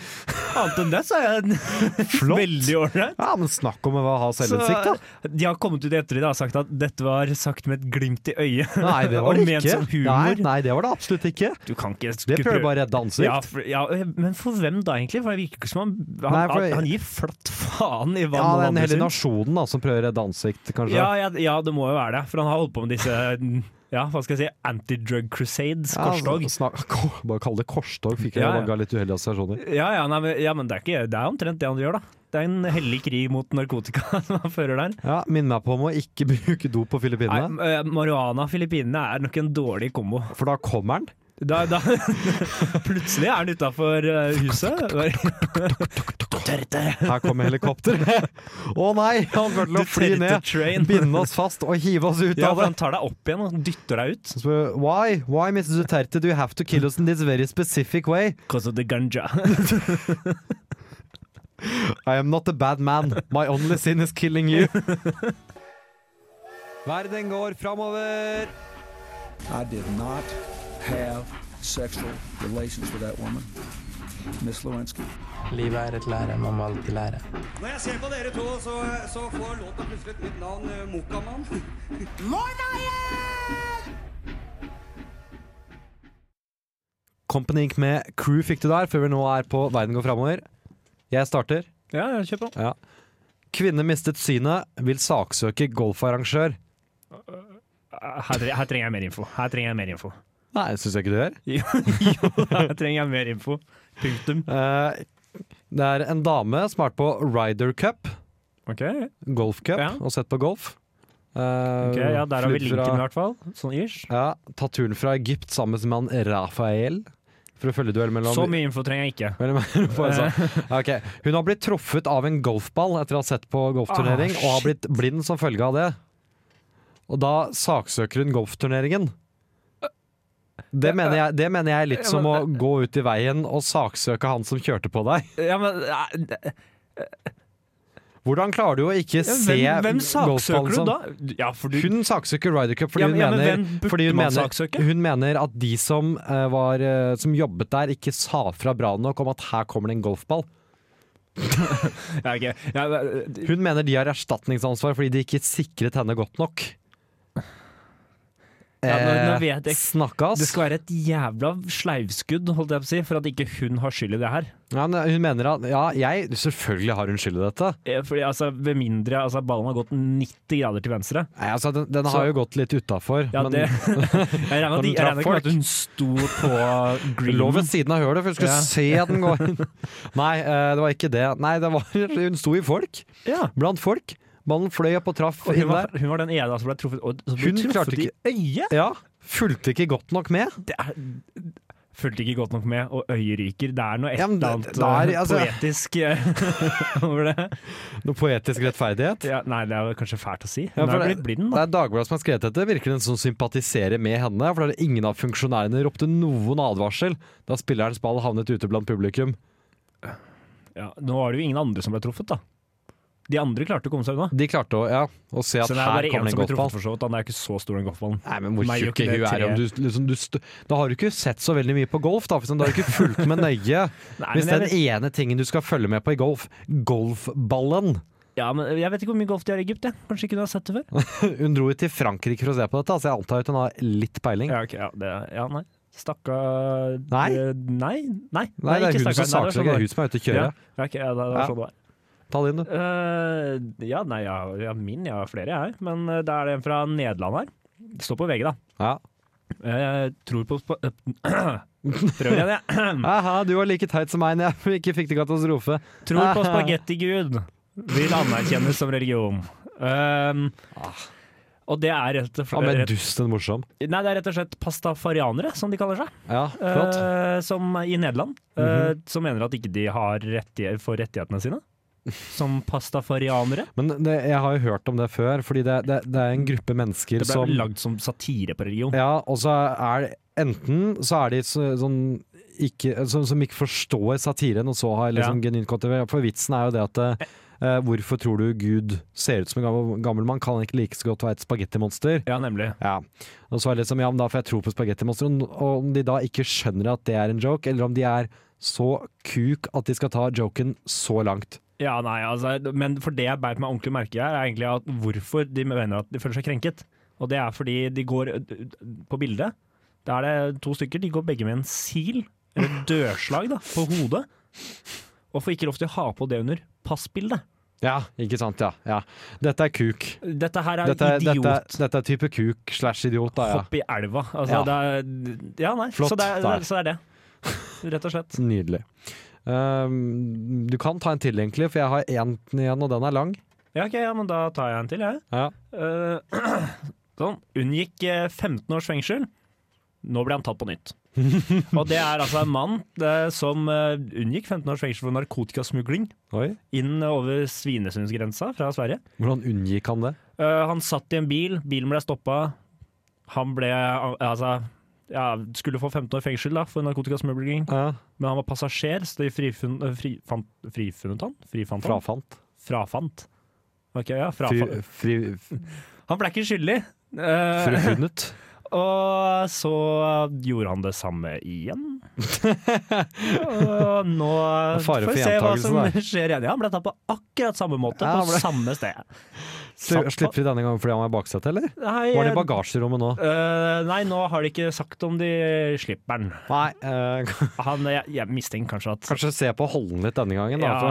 Annet enn det så er jeg [LAUGHS] veldig ålreit. Ja, men snakk om å ha selvinnsikt, da. Så, eh, De har kommet ut etter det og sagt at dette var sagt med et glimt i øyet. Nei, [LAUGHS] det var og det ment ikke. som Nei, humor. nei, det var det absolutt ikke. Du kan ikke Det prøver bare å redde ja, ansikt. for, ja, Men for hvem da, egentlig? For det virker ikke som han Han, Nei, for- han, han gir flatt faen i hva Ja, noen den andre hele syns. nasjonen da, som prøver å redde ansikt, kanskje. Ja, ja, ja, det må jo være det. For han har holdt på med disse [LAUGHS] ja, hva skal jeg si, anti-drug crusades, Ja, altså. korstog. snak- [LAUGHS] ko- bare kalle det korstog, fikk jeg Ja, ja. laga litt uheldige assosiasjoner. Ja, ja, nei, men, ja, men det er, ikke, det er omtrent det han gjør, da. Det er en hellig krig mot narkotika [LAUGHS] som han fører der. Ja, Minn meg på om å ikke [LAUGHS] bruke dop på Nei, Filippinene, eh, Marihuana og Filippinene er nok en dårlig kombo. for da kommer den. Da, da, [LAUGHS] plutselig er han utafor huset. Duterte. Her kommer [LAUGHS] helikopteret! Å nei, han kommer til å fly ned, train. binde oss fast og hive oss ut Ja, av for det. han tar deg opp igjen og dytter deg ut. Så spør jeg, Why? Why, Mr. Duterte, do you have to kill us in this very specific way? Cause of the ganja. [LAUGHS] I am not a bad man. My [LAUGHS] only sin is killing you. Verden går framover. I did not have sexual relations with that woman, Miss Lewinsky. Livet er et lære, man må alltid lære. Når jeg ser på dere to, så, så får låta plutselig et nytt navn, eh, Mokamann. Company Inc. med Crew fikk du der, før vi nå er på Verden går framover. Jeg starter. Ja, ja, kjør på. Ja. Kvinne mistet synet, vil saksøke golfarrangør. Her, tre- her trenger jeg mer info. Her trenger jeg mer info. [LAUGHS] Nei, det syns jeg ikke du gjør. Jo, jo, her trenger jeg mer info. Punktum. Eh, det er en dame som har vært på Ryder Cup, Ok, golfcup, Ja. og sett på golf. Eh, ok, ja, Der har vi flydd linken, fra- i hvert fall. Sånn ish. Ja, Tatt turen fra Egypt sammen med han Rafael for å følge duell mellom Så mye info trenger jeg ikke. [LAUGHS] mellom- på en sånn. Ok, Hun har blitt truffet av en golfball etter å ha sett på golfturnering, Ah, og har blitt blind som følge av det. Og da saksøker hun golfturneringen. Det mener, jeg, det mener jeg er litt som å gå ut i veien og saksøke han som kjørte på deg. Ja, men eh, Hvordan klarer du å ikke se hvem, hvem golfballen saksøker du som da? Ja, for du Hun saksøker Ryder Cup fordi, Ja, men- ja, hun, men hvem mener, burde fordi hun, man mener, saksøke? hun mener at de som, eh, var, eh, som jobbet der, ikke sa fra bra nok om at her kommer det en golfball. ja, ok. ja, men- Hun mener de har erstatningsansvar fordi de ikke sikret henne godt nok. Eh, Ja, nå- nå vet jeg- Snakkas. Det skal være et jævla sleivskudd holdt jeg på å si, for at ikke hun har skyld i det her. Ja, men hun mener at Ja, jeg Selvfølgelig har hun skyld i dette. Eh, Fordi altså, Ved mindre altså, ballen har gått 90 grader til venstre. Nei, altså, den, den har Så- jo gått litt utafor. Ja, men [LAUGHS] det, jeg når regner med den at de- jeg traff regner ikke med folk. at hun sto [LAUGHS] på Det lå ved greenen. siden av hølet, for hun skulle Mm. Ja. se at [LAUGHS] den går inn. Nei, eh, det var ikke det. Nei, det var, hun sto i folk. Ja. Blant folk. Ballen fløy opp og traff Og inn Hun var, der. hun var den ene som ble truffet, og, som ble Hun klarte truffet i øyet! Ja, Fulgte ikke godt nok med. Det er, fulgte ikke godt nok med, og øyet ryker. Det er noe et Ja, men eller det- annet det er- eh, altså- poetisk eh, [LAUGHS] over det. Noe poetisk rettferdighet. Ja, nei, det er jo kanskje fælt å si. Ja, Hun for er det, blitt det blind, da. er Dagbladet som har skrevet dette. Virker den som sympatiserer med henne. For da er det ingen av funksjonærene ropte noen advarsel da spillerens ball havnet ute blant publikum. Ja, nå var det jo ingen andre som ble truffet, da. De andre klarte å komme seg unna. De klarte å, ja, å se at Så det er her bare kommer det én som en blir truffet, golfball. for så vidt. da. Den er jo ikke så stor, den golfballen. Nei, men hvor Nei, gjør tjukk ikke hun det er om du, liksom, du st Da har du ikke sett så veldig mye på golf, da. For sånn, du har ikke fulgt med nøye. Nei, Hvis men den jeg ene tingen du skal følge med på i golf, golfballen [LAUGHS] Ja, men jeg vet ikke hvor mye golf de har i Egypt, jeg. Kanskje ikke du har sett det før? Hun dro jo til Frankrike for å se på dette, så jeg antar at hun har litt peiling. Ja, ok, ja, det, ja nei. Stakka Nei. eh, Nei, nei. Nei, det er hun som ikke stakkar. Nei, det var sånn det saksøker, var. hun som er ute å kjøre. Ja, ja, ok, ja, det det var Ja. sånn det var. Ta det inn, du. Eh, ja, nei, jeg har jeg har min, jeg har flere, jeg. Men eh, det er en fra Nederland her. Det står på VG, da. Ja. Jeg tror på, på [CLEARS THROAT] Prøv igjen, jeg. Aha, du var like teit som meg [LAUGHS] når jeg ikke fikk til katastrofe. Tror på spagettigud. Vil anerkjennes som religion. Ehm, og det er rett og Ja, men slett dusten morsom. Nei, det er rett og slett pastafarianere, som de kaller seg. Ja, flott. Mhm. Eh, som i Nederland, eh, som mener at ikke de har rettighet, får rettighetene sine. Som pastafarianere. Men det, jeg har jo hørt om det før, fordi det, det, det er en gruppe mennesker Det ble som lagd som satire på religion. Ja, og så er det Enten så er de så, sånn ikke, som, som ikke forstår satiren, og så har liksom genuint kontrovers. For vitsen er jo det at eh, hvorfor tror du Gud ser ut som en gammel, gammel mann? Kan han ikke like så godt være et spagettimonster? Ja, nemlig. Ja. Og så er det liksom, ja, men da får jeg tro på spagettimonster. Og og om de da ikke skjønner at det er en joke, eller om de er så kuk at de skal ta joken så langt. Ja, nei, altså, men for det jeg beit meg ordentlig merke i, her, er egentlig at hvorfor de mener at de føler seg krenket. Og det er fordi de går ø, ø, på bildet. Da er det to stykker. De går begge med en sil, eller et dørslag, da, på hodet. Og får ikke lov til å ha på det under passbildet. Ja, ikke sant? Ja. ja. Dette er kuk. Dette her er Dette, er- idiot. dette, er- dette er type kuk slash idiot, da, ja. Hopp i elva. Ja. Altså, ja. Det er, ja, nei. Flott. Så det er, det Der. er, så det er det. Rett og slett. Nydelig. Ehm, du kan ta en til, egentlig, for jeg har én igjen, og den er lang. Ja, ok, ja, men da tar jeg en til, jeg. Ja. Eh, [CLEARS THROAT] sånn. Unngikk eh, 15 års fengsel. Nå ble han tatt på [LAUGHS] nytt. Og det er altså en mann eh, som eh, unngikk 15 års fengsel for narkotikasmugling Oi. inn over Svinesundsgrensa fra Sverige. Hvordan unngikk han det? Eh, han satt i en bil, bilen ble stoppa. Han ble al- altså ja, skulle få 15 år fengsel da, for narkotikasmugling. Ja. Men han var passasjer, så de frifun, eh, fri, fant, frifunnet han? Frifant han? Frafant. Frafant. Ok, ja, Fri, frafant. fri, Han ble ikke skyldig. Eh, frifunnet. [LAUGHS] Og så gjorde han det samme igjen. Og nå er fare for får vi se hva gjentagelsen, som da. [LAUGHS] skjer igjen. Ja, han ble tatt på akkurat samme måte, Ja, han på ble- samme sted. [LAUGHS] Sli- Slipper de denne gangen fordi han er i baksetet, eller? Nei, Var det eh, i bagasjerommet nå? Eh, nei, nå har de ikke sagt om de slipper den. Nei, eh, [LAUGHS] Han, jeg, jeg mistenker kanskje at kanskje se på holden litt denne gangen, da. ja, [LAUGHS]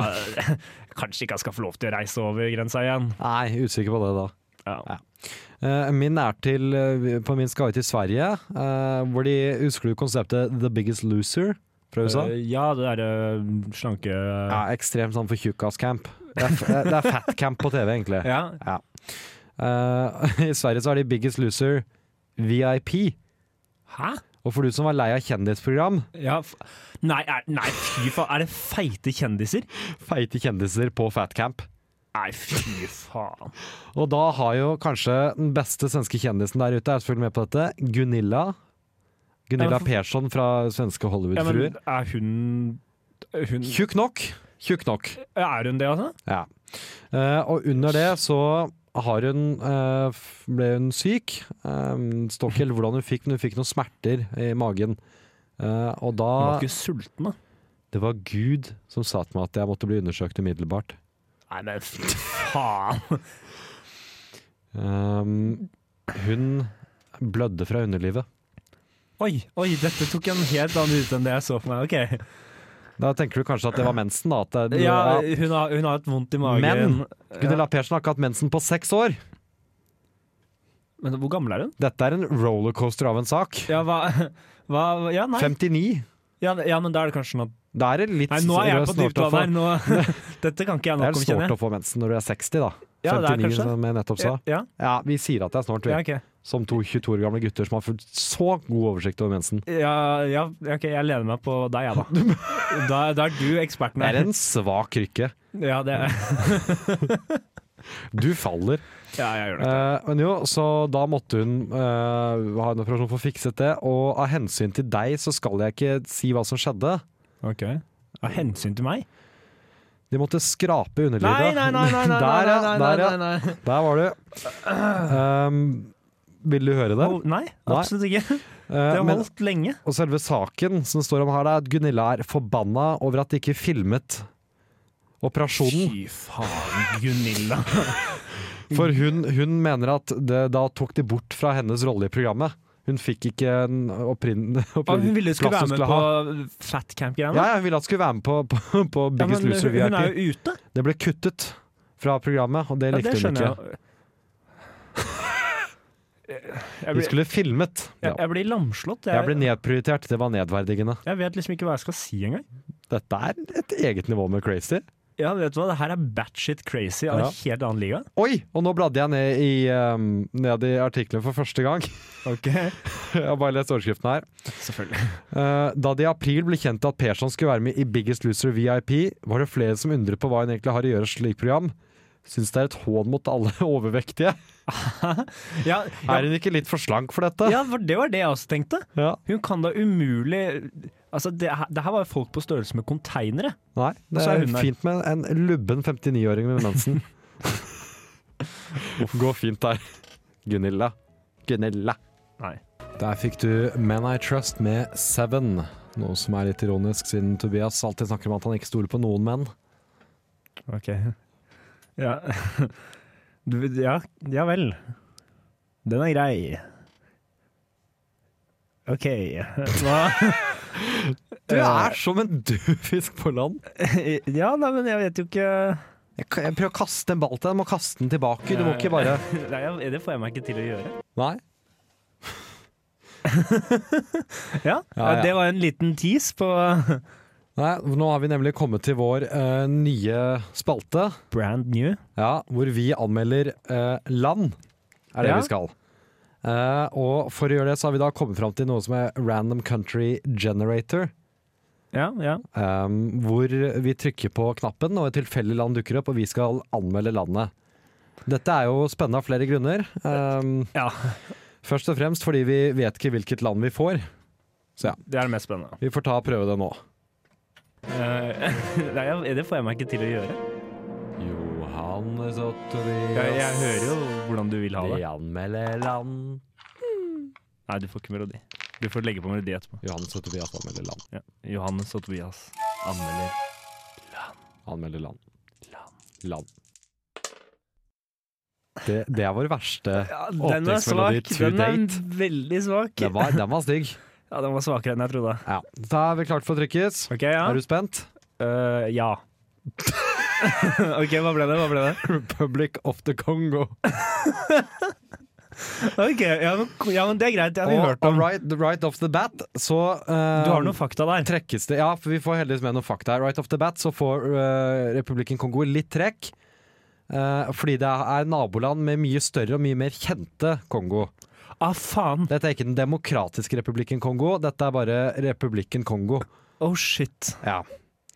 for- Kanskje ikke han skal få lov til å reise over grensa igjen. Nei, usikker på det, da. Ja. Eh, Min er til eh, På min skal vi til Sverige, eh, hvor de husker du konseptet The Biggest Loser fra USA? Eh, ja, det derre mm, slanke Ja, ekstremt sånn for tjukkas-camp. Det er, f- det er fat-camp på TV, egentlig. Ja. Ja. Eh, [LAUGHS] I Sverige så er de Biggest Loser VIP. Hæ? Og for du som var lei av kjendisprogram, Ja, f nei, er, nei, fy faen. Er det feite kjendiser? feite kjendiser på fatcamp. Nei, fy faen. Og da har jo kanskje den beste svenske kjendisen der ute, er selvfølgelig med på dette, Gunilla. Ja, Gunilla men for- Persson fra svenske Ja, Hollywood-fruer. men er hun, hun Tjukk nok. Tjukk nok. Er hun det, altså? Ja. Eh, og under det så har hun eh, f- ble hun syk. Um, Står ikke helt hvordan hun fikk, men hun fikk noen smerter i magen. Eh, og Hun var da ikke sulten, da. Det var Gud som sa til meg at jeg måtte bli undersøkt umiddelbart. Nei, men fy faen. Um, hun blødde fra underlivet. Oi, oi, dette tok en helt annen ut enn det jeg så for meg. Ok. Da tenker du kanskje at det var mensen, da. At det, Ja, hun har, hun har et vondt i magen. Men Gunilla Persen har ikke hatt mensen på seks år! Men hvor gammel er hun? Dette er en rollercoaster av en sak. Ja, hva, hva Ja, nei. 59. Ja, ja, men da er det kanskje noe Da er det litt Nei, nå er jeg rød på snort å dypt vann få. [LAUGHS] her. Nå, dette kan ikke Det jeg er nok om, snålt kjenner å få mensen når du er 60, da. Ja, det er 59, kanskje. som jeg nettopp sa. jeg. Ja, Ja, vi sier at det er snålt, vi. ja, ok. Som to 22 år gamle gutter som har fått så god oversikt over mensen. Ja, ja, ok, jeg lener meg på deg, jeg, da. Da, da er du eksperten Det er her. en svak krykke. Ja, det er, Du faller. [LAUGHS] ja, jeg gjør det. Eh, men jo, så da måtte hun eh, ha en operasjon for å fikset det, og av hensyn til deg så skal jeg ikke si hva som skjedde. Ok. Av hensyn til meg? De måtte skrape underlivet. Nei, nei, nei! nei, nei, der, ja, nei, nei, der, ja. nei, nei, nei. [LAUGHS] Der [CLEARS THROAT] var du. Um, vil du høre det? Oh, nei, absolutt ikke. Eh, Det har men- holdt lenge. Og selve saken som står om her, det er at Gunilla er forbanna over at de ikke filmet operasjonen. Fy faen, Gunilla. For hun, hun mener at det, da tok de bort fra hennes rolle i programmet. Hun fikk ikke en opprinnende hun ville Ah, skulle være med på Ja, fatcamp-greiene. ja, hun ville at hun skulle være med på, på, på Biggest men Loser hun, hun er VIP. jo ute. Det ble kuttet fra programmet, og det Ja, likte det hun skjønner ikke. jeg. [LAUGHS] Jeg De blir, skulle filmet. jeg, Ja. jeg blir lamslått. Jeg Jeg, ble nedprioritert, det var nedverdigende. jeg vet liksom ikke hva jeg skal si engang. Dette er et eget nivå med crazy. Ja, vet du hva, det her er batshit crazy av en helt annen liga. Oi! Og nå bladde jeg ned i, um, ned i artikkelen for første gang. [LAUGHS] Ok, [LAUGHS] Jeg har bare lest overskriften her. selvfølgelig. Eh, Da det i april ble kjent at Persson skulle være med i Biggest Loser VIP, var det flere som undret på hva hun egentlig har å gjøre i et slikt program. Syns det er et hån mot alle [LAUGHS] overvektige. Ja, ja, Er hun ikke litt for slank for dette? ja, for det var det jeg også tenkte. Ja. Hun kan da umulig Altså, det, her- det her var jo folk på størrelse med konteinere. Nei, det Så er er hun der. fint med en lubben 59-åring med [LAUGHS] mensen. Gå fint der. Gunilla. Gunilla. Nei. Der fikk du Men I Trust med Seven. Noe som er litt ironisk, siden Tobias alltid snakker om at han ikke stoler på noen menn. Ok. [LAUGHS] Ja. [LAUGHS] Du, ja, ja vel. Den er grei. OK. [LAUGHS] Hva Du er som en død fisk på land. Ja, nei, men jeg vet jo ikke Jeg, kan- jeg prøver å kaste en ball til deg, må kaste den tilbake. Du må ikke bare [LAUGHS] Nei, jeg- Det får jeg meg ikke til å gjøre. Nei. Ja, Ja, ja. Det var en liten tease på [LAUGHS] Nei, Nå har vi nemlig kommet til vår eh, nye spalte, Brand new. ja, hvor vi anmelder eh, land. Er det Ja. vi skal. Eh, og for å gjøre det, så har vi da kommet fram til noe som er Random Country Generator. Ja, ja. Um, hvor vi trykker på knappen, og et tilfeldig land dukker opp, og vi skal anmelde landet. Dette er jo spennende av flere grunner. Um, Ja. Først og fremst fordi vi vet ikke hvilket land vi får. Det er det mest spennende. Vi får ta og prøve det nå. Eh, [LAUGHS] Nei, jeg- det får jeg meg ikke til å gjøre. Johannes og Jeg, jeg hører jo hvordan du vil ha det. anmelder land. Nei, du får ikke melodi. Du får legge på melodi etterpå. Johannes og Tobias anmelder land. Ja. Johannes og Tobias anmelder Anmelder land. Land. Land. Det, det er vår verste Den er åpningsmelodi svak. to Den er date. veldig svak. Den var, den var stygg. Ja, den var svakere enn jeg trodde. Ja. Da er vi klart for å trykkes. Ok, ja. Er du spent? [LAUGHS] Øh, ja. [LAUGHS] ok, hva ble det? Hva ble det? Republic of the Congo. Ok, ja, men, ja, men det er greit. Det har vi Og, hørt og om. right, right off the bat, så eh, Du har noen fakta der. trekkes det Ja, for vi får heldigvis med noen fakta her. Right off the bat så får eh, Republikken Kongo litt trekk. eh, fordi det er naboland med mye større og mye mer kjente Kongo. Ah, faen! Dette er ikke Den demokratiske republikken Kongo, dette er bare republikken Kongo. Oh, shit. Ja.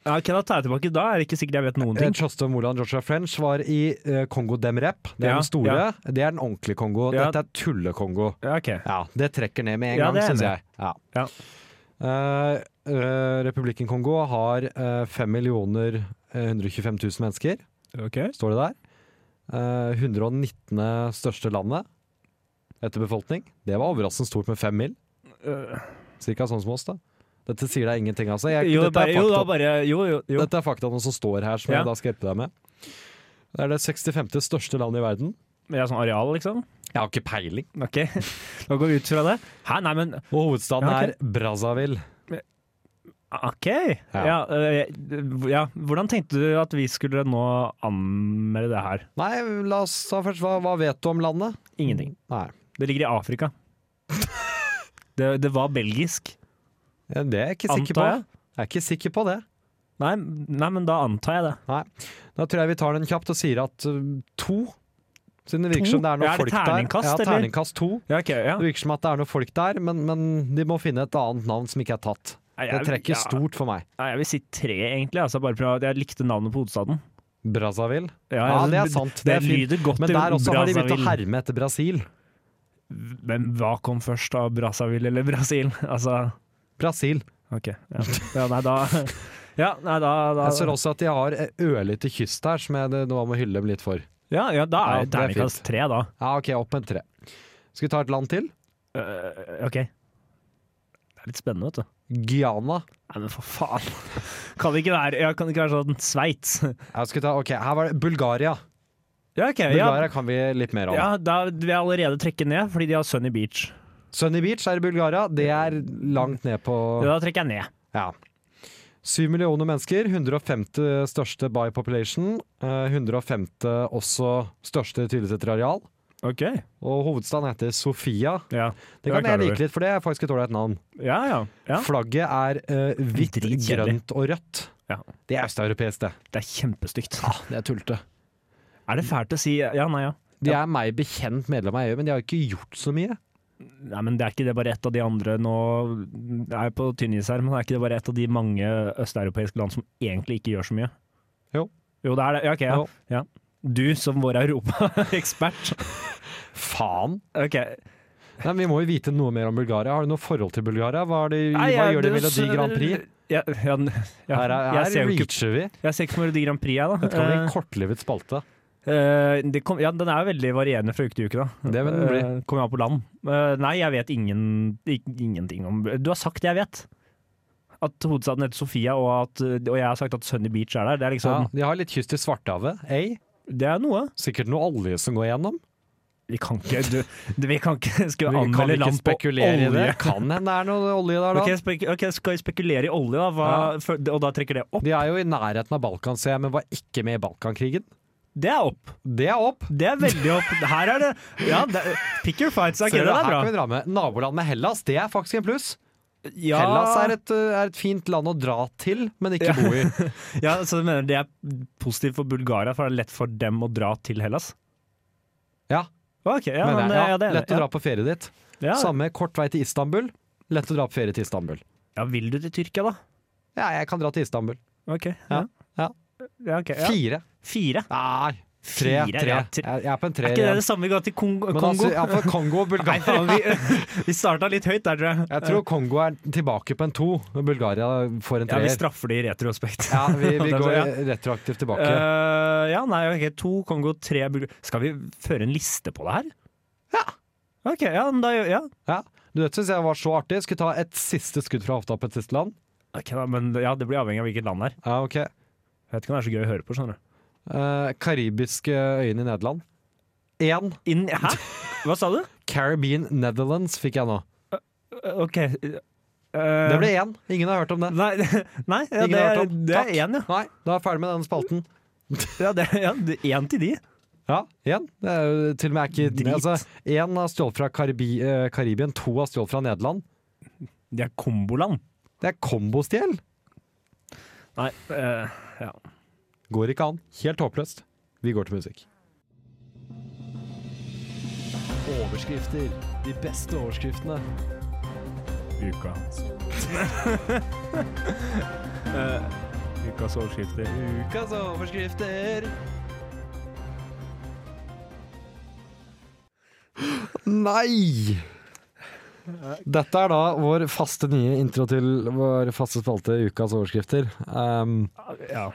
Ja, ok, Da tar jeg tilbake. Da er det ikke sikkert jeg vet noen Eh, ting. Tjostov Moland Joshua French var i eh, Kongo Demrep. Det er Ja, den store. Det er den ordentlige Kongo. Ja. Dette er tulle-Kongo. Ja, ok. Ja, det trekker ned med en Ja, gang, det er syns enig. jeg. Ja. Ja. Eh, eh, republikken Kongo har eh, 5 millioner eh, 125 000 mennesker, Ok. står det der. Eh, 119. største landet etter befolkning. Det var overraskende stort med fem mil. Øh, Cirka sånn som oss, da. Dette sier deg ingenting, altså. Jeg, jo, dette bare, er jo, da fakta. bare Jo, jo. jo. Dette er faktaene som står her, som Ja. jeg da skal hjelpe deg med. Det er det 65. største landet i verden. Men Jeg er sånn areal, liksom? Jeg har ikke peiling. Ok, da går vi ut fra det. Hæ, nei, men Og hovedstaden Ja, ok. er Brazzaville. OK! Ja. Ja, øh, ja, hvordan tenkte du at vi skulle nå anmelde det her? Nei, la oss ta først hva, hva vet du om landet? Ingenting. Nei, Det ligger i Afrika. [LAUGHS] Det, det var belgisk. det er jeg ikke sikker på. Antar jeg. Jeg er ikke sikker på det. Nei, nei, men da antar jeg det. Da tror jeg vi tar den kjapt og sier at uh, to siden det virker To? som det er noe Ja, er det folk der. terningkast, ja, eller? terningkast to. Ja, ok, ja. Det virker som at det er noe folk der, men, men de må finne et annet navn som ikke er tatt. Nei, Det jeg- trekker ja, stort for meg. Nei, jeg vil si tre, egentlig. Altså, bare fordi jeg likte navnet på hovedstaden. altså, Brazzaville. Ja, det er sant. Det Det, er fint. lyder godt Men til der også har de begynt å Brazzaville. herme etter Brasil. Men hva kom først av Brazzaville eller Brasil? [LAUGHS] Altså, Brasil. OK. Ja, ja nei, da [LAUGHS] Ja, nei, da, da Jeg ser også at de har en ørlite kyst her, som jeg det- nå må hylle dem litt for. ja, ja, da Ja, er det det er terningkast tre, da. Ja, OK, opp med tre. Skal vi ta et land til? Øh, OK. Det er litt spennende, vet du. Guyana. Nei, men for faen. [LAUGHS] Kan det ikke være, ja, kan det ikke være sånn Sveits? Ja, skal vi ta, ok, Her var det Bulgaria. [LAUGHS] Ja, OK. Ja, Bulgaria kan vi litt mer om. ja, da vil jeg allerede trekke ned, fordi de har Sunny Beach. Sunny Beach er i Bulgaria. Det er langt ned på Da trekker jeg ned. Ja. Syv millioner mennesker. 150 største by population. eh, 150 også største tydeligvis etter areal. OK. Og hovedstaden heter Sofia. Ja, Det kan er jeg klar over. like litt, for det er faktisk et ålreit navn. ja. ja, ja. Flagget er eh, hvitt, Dritkjedelig. grønt og rødt. Ja. Det er østeuropeisk, det. Det er kjempestygt. Ah, Det er tullete. Er det fælt å si Ja, nei, ja. De er meg bekjent medlem av EU, men de har ikke gjort så mye. Nei, men det er ikke det bare ett av de andre nå Jeg er på tynn is her, men det er ikke det bare ett av de mange østeuropeiske land som egentlig ikke gjør så mye? Jo. Jo, det er det. Ja, OK. Jo. Ja. ja. Du som vår europaekspert. Faen! OK. Nei, men vi må jo vite noe mer om Bulgaria. Har du noe forhold til Bulgaria? Hva, er det, hva gjør de i Melodi Grand Prix? Ja, ja, ja. Her, er, jeg, ser her jo ikke, reacher vi. jeg ser ikke på Melodi Grand Prix, jeg, da. Dette kan bli en kortlivet spalte. Eh, det kom, ja, den er veldig varierende fra uke til uke, da. Det vil den bli. Eh, Kommer jeg på land? Eh, nei, jeg vet ingen, ik- ingenting om Du har sagt det jeg vet. At hovedstaden heter Sofia, og, at, og jeg har sagt at Sunny Beach er der. Det er Ja, liksom Sånn, de har litt kyst til Svartehavet. Ei, Det er noe. sikkert noe olje som går gjennom. Vi kan ikke du, du, Vi kan ikke skulle Vi kan anmelde ikke land på spekulere i det. olje. Kan hende det er noe olje der, da. [LAUGHS] Ok, spek ok, skal vi spekulere i olje, da? Hva, for, og da trekker det opp? De er jo i nærheten av Balkan, ser jeg, men var ikke med i Balkankrigen. Det er opp. Det er opp! Det er veldig opp. Her er det Ja, det, pick your fights. Ok, Ser den du, er her bra. kan vi dra med Naboland med Hellas, det er faktisk en pluss. Ja. Hellas er et, uh, er et fint land å dra til, men ikke bo i. [LAUGHS] Ja, så du mener det er positivt for Bulgaria, for det er lett for dem å dra til Hellas? Ja, Ok, ja, mener men, jeg. ja, ja, det er lett å dra på ferie dit. ja. Samme kort vei til Istanbul. Lett å dra på ferie til Istanbul. Ja, vil du til Tyrkia, da? Ja, jeg kan dra til Istanbul. Ok. Ja, ja. Ja, ok, ja. Fire. Fire? Nei, tre. Fire, tre. ja, tre. Jeg jeg er på en Er treer ikke det igjen. det samme vi ga til Kong Men Kongo? altså, ja, for Kongo og [LAUGHS] Nei, Bulgaria faen, vi, vi [LAUGHS] starta litt høyt der, tror jeg. Jeg tror Kongo er tilbake på en to, og Bulgaria får en Ja, vi treer. straffer det i retrospekt. [LAUGHS] Ja, vi, vi Det tror går jeg. retroaktivt tilbake. Eh, ja, nei, ok, to Kongo, tre Bulgaria Skal vi føre en liste på det her? Ja. Ok, ja, men da gjør ja. Ja. Du vet, synes jeg var så artig. Skulle ta et siste skudd fra hofta på et siste land. Ok, da, men ja, Det blir avhengig av hvilket land det er. Ja, ok. Jeg vet ikke om det er så gøy å høre på. skjønner du Eh, karibiske øyene i Nederland. Én. Inn, Hæ? Hva sa du? Caribbean Netherlands fikk jeg nå. Eh, OK Eh, Det ble én. Ingen har hørt om det. Nei, [LAUGHS] nei Eh. ja, Ingen det, har er, hørt om. det er Takk. én, ja. Nei, da er jeg ferdig med denne spalten. ja, det, ja det, én til de. Ja, én. Det er jo til og med ikke Drit. Én har stjålet fra Karibi, eh, Karibien, to har stjålet fra Nederland. De er komboland. Det er kombostjel! Nei, eh, ja. Går ikke an. Helt håpløst. Vi går til musikk. Overskrifter. De beste overskriftene. [LAUGHS] Uka. Eh, ukas overskrifter. Ukas overskrifter. Nei! Dette er da vår faste nye intro til vår faste spalte Ukas overskrifter. Um, Ja.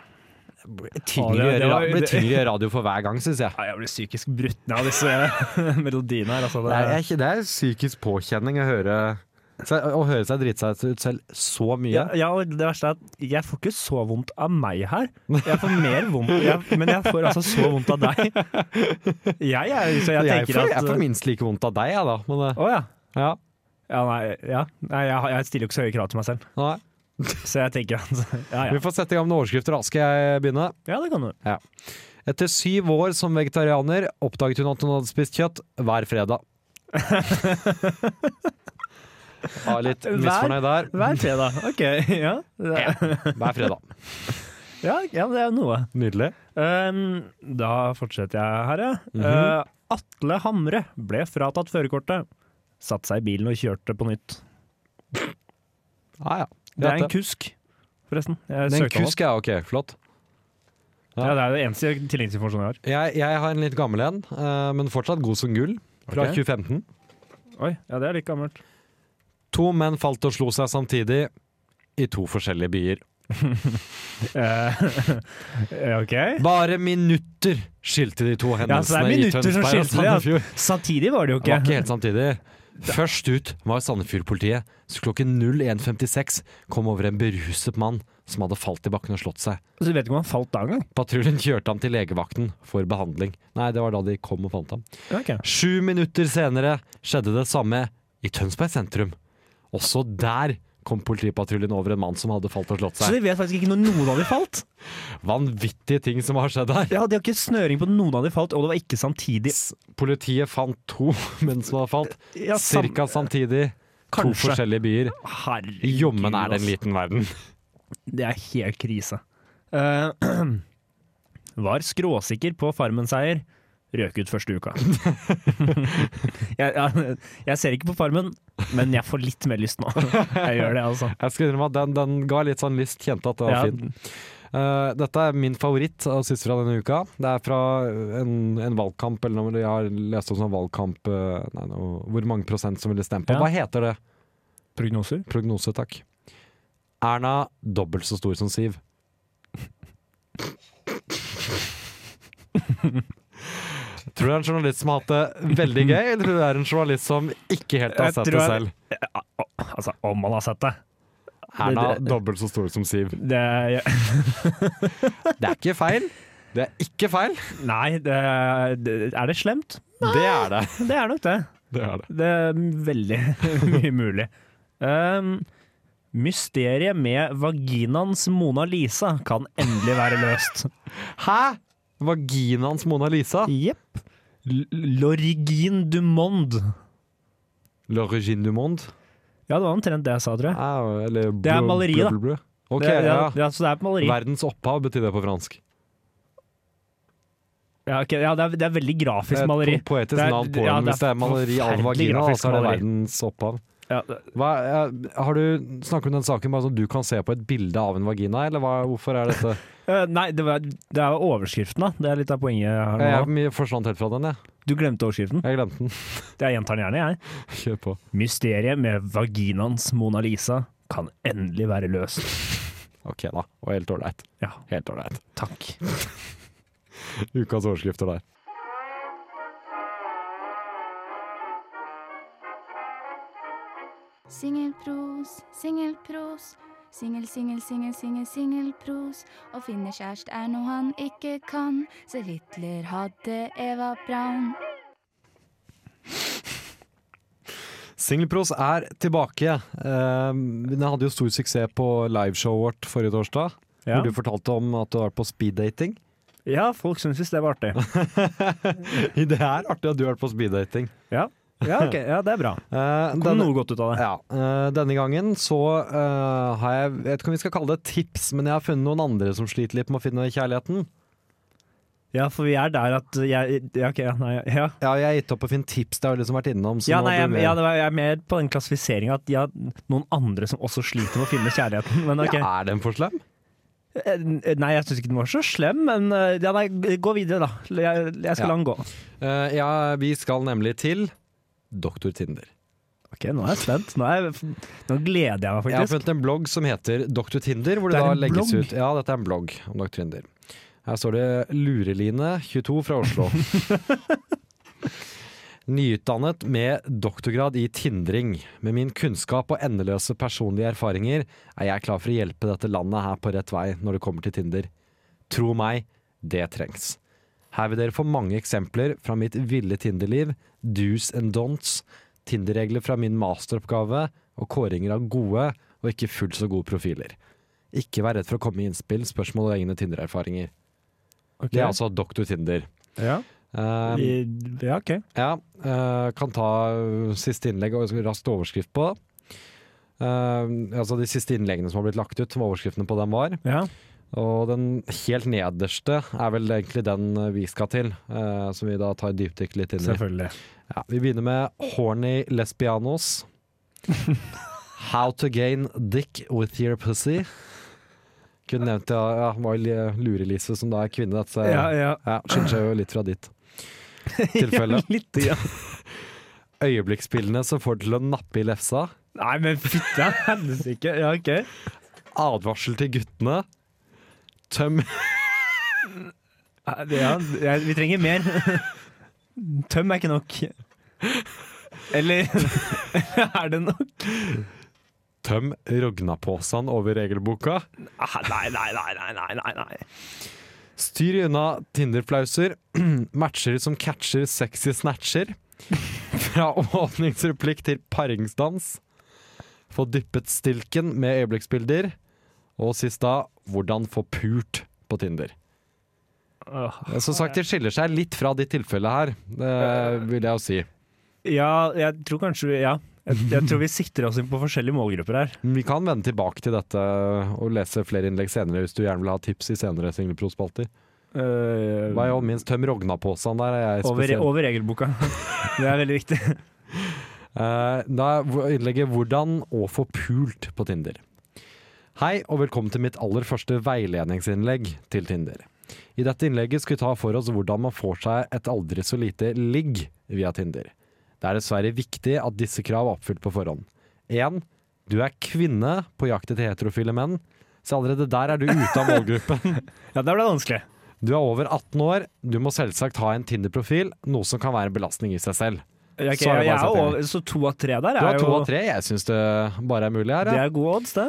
blir tyngre å det var- gjøre- blir tyngre å gjøre radio for hver gang, syns jeg. Nei, jeg blir psykisk brutt ned av disse [LAUGHS] melodiene her. Altså, det, Det er, ikke, det er psykisk påkjenning å høre, se- å høre seg drite seg ut selv så mye. ja, ja, og det verste er at jeg får ikke så vondt av meg her. Jeg får mer vondt, jeg, men jeg får altså så vondt av [LAUGHS] deg. Jeg, er- så jeg jeg, tenker får, jeg at får minst like vondt av deg, jeg, da. Men Å ja. eh, ja. ja. Nei, ja. nei jeg, jeg stiller jo ikke så høye krav til meg selv. Nei. Så jeg tenker at [LAUGHS] ja, ja. Vi får sette i gang med overskrifter. Da skal jeg begynne. ja det kan du. Etter syv år som vegetarianer oppdaget hun at hun hadde spist kjøtt hver [LAUGHS] fredag. Var litt Hver- misfornøyd der. Hver fredag. OK. [LAUGHS] Ja, det er, Hver fredag. ja, ja, det er noe. Nydelig. Um, da fortsetter jeg her, ja. Mhm. Eh, Atle Hamre ble fratatt førerkortet. Satte seg i bilen og kjørte på nytt. Ja, ja. Det er en kusk, forresten. Jeg Det er en søkte han kusk, ja. Ok, flott. opp. Ja, det er det eneste tilleggsinformasjonen jeg har. Jeg, jeg har en litt gammel en, eh, men fortsatt god som gull, fra Ok. 2015. Oi, ja, det er litt gammelt. To menn falt og slo seg samtidig i to forskjellige byer. Eh, [LAUGHS] OK. Bare minutter skilte de to Ja, så det er hendelsene i minutter som Tønsberg og skiller ja. Sandefjord. Samtidig var det jo Det var ikke ikke. helt samtidig. Først ut var Sandefjord-politiet, så klokken 01.56 kom over en beruset mann som hadde falt i bakken og slått seg. Så du vet ikke om han falt da engang? Patruljen kjørte ham til legevakten for behandling. Nei, det var da de kom og fant ham. Okay. Sju minutter senere skjedde det samme i Tønsberg sentrum. Også der kom politipatruljen over en mann som hadde falt og slått Så seg. de vet faktisk ikke når noen av de falt? Vanvittige ting som har skjedd her. Ja, De har ikke snøring på noen av de falt, og det var ikke samtidig. S- Politiet fant to [LAUGHS] menn som hadde falt, Ja, sam- cirka samtidig. To Kanskje. forskjellige byer. Herregud, altså. Jommen er det en ass. liten [LAUGHS] verden. Det er helt krise. Eh, [CLEARS THROAT] var skråsikker på Farmen-seier. Røk ut første [LAUGHS] uka. jeg, jeg, jeg ser ikke på Farmen, men jeg får litt mer lyst nå. Jeg gjør det, [LAUGHS] altså. Jeg skal innrømme at den, den ga litt sånn lyst, kjente at det var Ja. fin. Eh, dette er min favoritt og siste fra denne uka. Det er fra eh, en, en valgkamp, eller noe jeg har lest om sånn valgkamp eh, nei, noe, Hvor mange prosent som ville stemme på. Ja. Hva heter det? Prognoser? Prognose, takk. Erna dobbelt så stor som [LAUGHS] Siv. Tror du det er en journalist som har hatt det veldig gøy, eller tror du det er en journalist som ikke helt har Jeg sett tror det jeg- selv? Altså, om man har sett det. Erna det- dobbelt så stor som Siv. det Det er ikke feil. Det er ikke feil. nei, det, det, er det slemt? Det er det. Det er nok det. det, er det. Det er veldig [LAUGHS] mye mulig. Um, mysteriet med vaginaens Mona Lisa kan endelig være [LAUGHS] løst. Hæ? Vaginaens Mona Lisa? Jepp. Lorigin du monde. L'origine du monde? Ja, det var omtrent det jeg sa, tror jeg. Ah, eller Det er blø- maleri, blø- da. blø- blø. Ok, det, ja, ja. ja, så det er et maleri. Verdens opphav betyr det på fransk. Ja, ok, ja, det, er, det er veldig grafisk maleri. Et po- poetisk Det er- navn på ja, den. det er Hvis det er maleri av forferdelig vagina, da, grafisk så er det maleri. verdens opphav. Ja, det- Hva, er- har du snakket om den saken bare sånn du kan se på et bilde av en vagina, eller hva, hvorfor er [LAUGHS] dette eh, nei, det, var, det er overskriften, da. Det er litt av poenget Jeg, her nå. jeg mi- forsvant helt fra den, jeg. Du glemte overskriften. Jeg glemte den. [LAUGHS] Jeg gjentar den gjerne, jeg. Kjør på. Mysteriet med vaginaens Mona Lisa kan endelig være løst. Ok, da. Og helt ålreit. Ja, Helt ålreit. takk. Ukas overskrifter der. Singelpros, singelpros. Singel, singel, singel, singel, singelpros. Å finne kjæreste er noe han ikke kan, så Hitler hadde Eva Braun. Singelpros er tilbake. Eh, Den hadde jo stor suksess på liveshowet vårt forrige torsdag. Ja. Hvor du fortalte om at du har vært på speeddating. [LAUGHS] Ja, folk syntes det [LAUGHS] var artig. det er artig at du har vært på speeddating. Ja. [LAUGHS] Ja, ok. Ja, det er bra. Kom noe godt ut av det. Ja, eh, denne gangen så eh, har jeg Jeg vet ikke om vi skal kalle det et tips, men jeg har funnet noen andre som sliter litt med å finne kjærligheten. Ja, for vi er der at jeg Ja, ok, ja, nei, ja. Ja, jeg har gitt opp å finne tips, det har jeg liksom vært innom. så ja, nå nei, blir jeg, vi- ja, det var, jeg er mer på den klassifiseringa at de har noen andre som også sliter med å finne kjærligheten. Men ok. Ja, er den for slem? Eh, Nei, jeg syns ikke den var så slem, men eh, ja, nei, gå videre, da. Jeg, jeg skal Ja. la den gå. Eh, ja, vi skal nemlig til Doktor Tinder. Ok, nå er jeg spent. Nå, er jeg, nå gleder jeg meg Jeg har faktisk. funnet en blogg som heter Dr. Tinder. Hvor det, Det er da en legges blogg? ut Ja, dette er en blogg om Dr. Tinder. Her står det 'Lureline, 22 fra [LAUGHS] Oslo'. Nyutdannet med doktorgrad i tindring. Med min kunnskap og endeløse personlige erfaringer er jeg klar for å hjelpe dette landet her på rett vei når det kommer til Tinder. Tro meg, det trengs. Her vil dere få mange eksempler fra mitt ville Tinder-liv, do's and don'ts, Tinder-regler fra min masteroppgave og kåringer av gode og ikke fullt så gode profiler. Ikke vær redd for å komme med innspill, spørsmål og egne Tinder-erfaringer. Det er altså doktor Tinder. Ja. Um, I- ja, ok. ja, eh, kan ta eh, siste innlegg og raskt overskrift på. Eh, altså De siste innleggene som har blitt lagt ut, som overskriftene på dem var. Og den helt nederste er vel egentlig den eh, vi skal til, eh, som vi da tar et dypdykk litt inn i. Selvfølgelig. Ja, vi begynner med horny [LAUGHS] lesbianos. How to gain dick with your pussy. Kunne nevnt ja, ja, var jo Lure-Lise, som da er kvinne. Dette, så- Ja, ja. ja, skiller seg jo litt fra ditt tilfelle. [LAUGHS] Ja, litt, ja. Øyeblikksspillene som får til å nappe i lefsa. Nei, men fytte helsike. Ja, OK. Advarsel til guttene. Tøm Ja, jeg, vi trenger mer. Tøm er ikke nok. Eller [LAUGHS] er det nok? Tøm rognapåsen over regelboka. Ah, Nei, nei, nei, nei, nei, nei, nei. Styr unna Tinder-flauser. [CLEARS THROAT] Matcher som catcher sexy snatcher. [LAUGHS] Fra åpningsreplikk til paringsdans. Få dyppet stilken med øyeblikksbilder. Og sist da, hvordan få pult på Tinder. Ah, Som sagt, det skiller seg litt fra ditt tilfelle her, eh, vil jeg jo si. Ja, jeg tror kanskje vi- Ja. Jeg, jeg tror vi sikter oss inn på forskjellige målgrupper her. Vi kan vende tilbake til dette og lese flere innlegg senere hvis du gjerne vil ha tips i senere Singleprospalter. Eh, Hva er jo minst tøm Rogna-posen der? Er jeg over, spesiell. over [LAUGHS] regelboka. Det er veldig viktig. Eh, Da er hvor- innlegget 'Hvordan å få pult på Tinder'. Hei og velkommen til mitt aller første veiledningsinnlegg til Tinder. I dette innlegget skal vi ta for oss hvordan man får seg et aldri så lite ligg via Tinder. Det er dessverre viktig at disse krav er oppfylt på forhånd. 1. Du er kvinne på jakt etter heterofile menn, så allerede der er du ute av målgruppen. ja, der ble det vanskelig. Du er over 18 år, du må selvsagt ha en Tinder-profil, noe som kan være en belastning i seg selv. Ja, ok, Så er det bare å jeg er sette i gang. over, så to av tre der er Du har to jo av tre. Jeg syns det bare er mulig her. Det ja. er gode odds, det.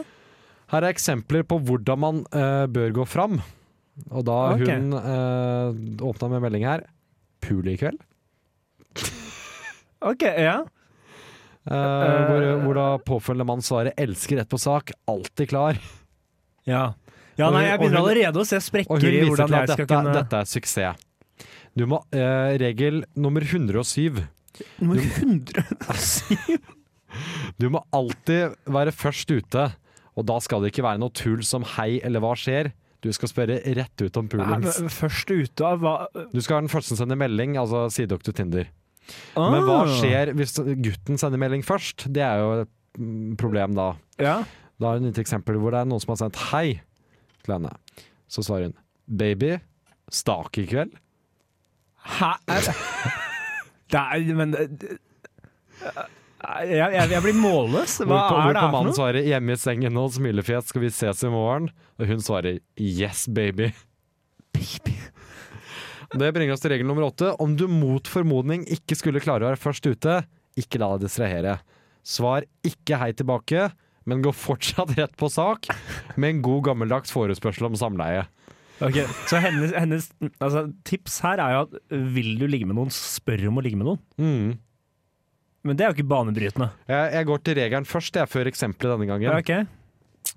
Her er eksempler på hvordan man eh, bør gå fram. Og da Ok. hun uh, åpna med melding her Pule i kveld. OK, ja. Eh, hvor, hvor da påfølgende mann svarer 'elsker rett på sak', alltid klar. Ja, Ja, Og nei, hun- jeg og begynner hun- allerede å se Og hun sprekker i viser hvordan til jeg at skal dette, kunne dette er suksess. Du må, eh, regel nummer 107. Nummer 107? Du må alltid være først ute, og da skal det ikke være noe tull som 'hei' eller 'hva skjer'. Du skal spørre rett ut om Nei, pulings. men [LAUGHS] Først ute av hva Du skal være den første som sender melding, altså sier Dr. Tinder. Men hva Ah. skjer hvis gutten sender melding først? Det er jo et mm, problem da. Da har hun et eksempel hvor det er noen som har sendt hei til henne. Så svarer hun baby, stak i kveld. Hæ? Er- Det er Men det- jeg, jeg, jeg blir Hvorpå, målløs. Hva er det hvorpå her for mannen noe? svarer hjemme i sengen nå, smilefjes, skal vi ses i morgen? Og hun svarer yes, baby. Det bringer oss til regel nummer åtte. Om du mot formodning ikke skulle klare å være først ute, ikke la deg distrahere. Svar ikke hei tilbake, men gå fortsatt rett på sak med en god gammeldags forespørsel om samleie. Ok, Så hennes, hennes altså, tips her er jo at vil du ligge med noen, spør om å ligge med noen. Mm. Men det er jo ikke banebrytende. Jeg, jeg går til regelen først, jeg, før eksempelet denne gangen. Ja, ok.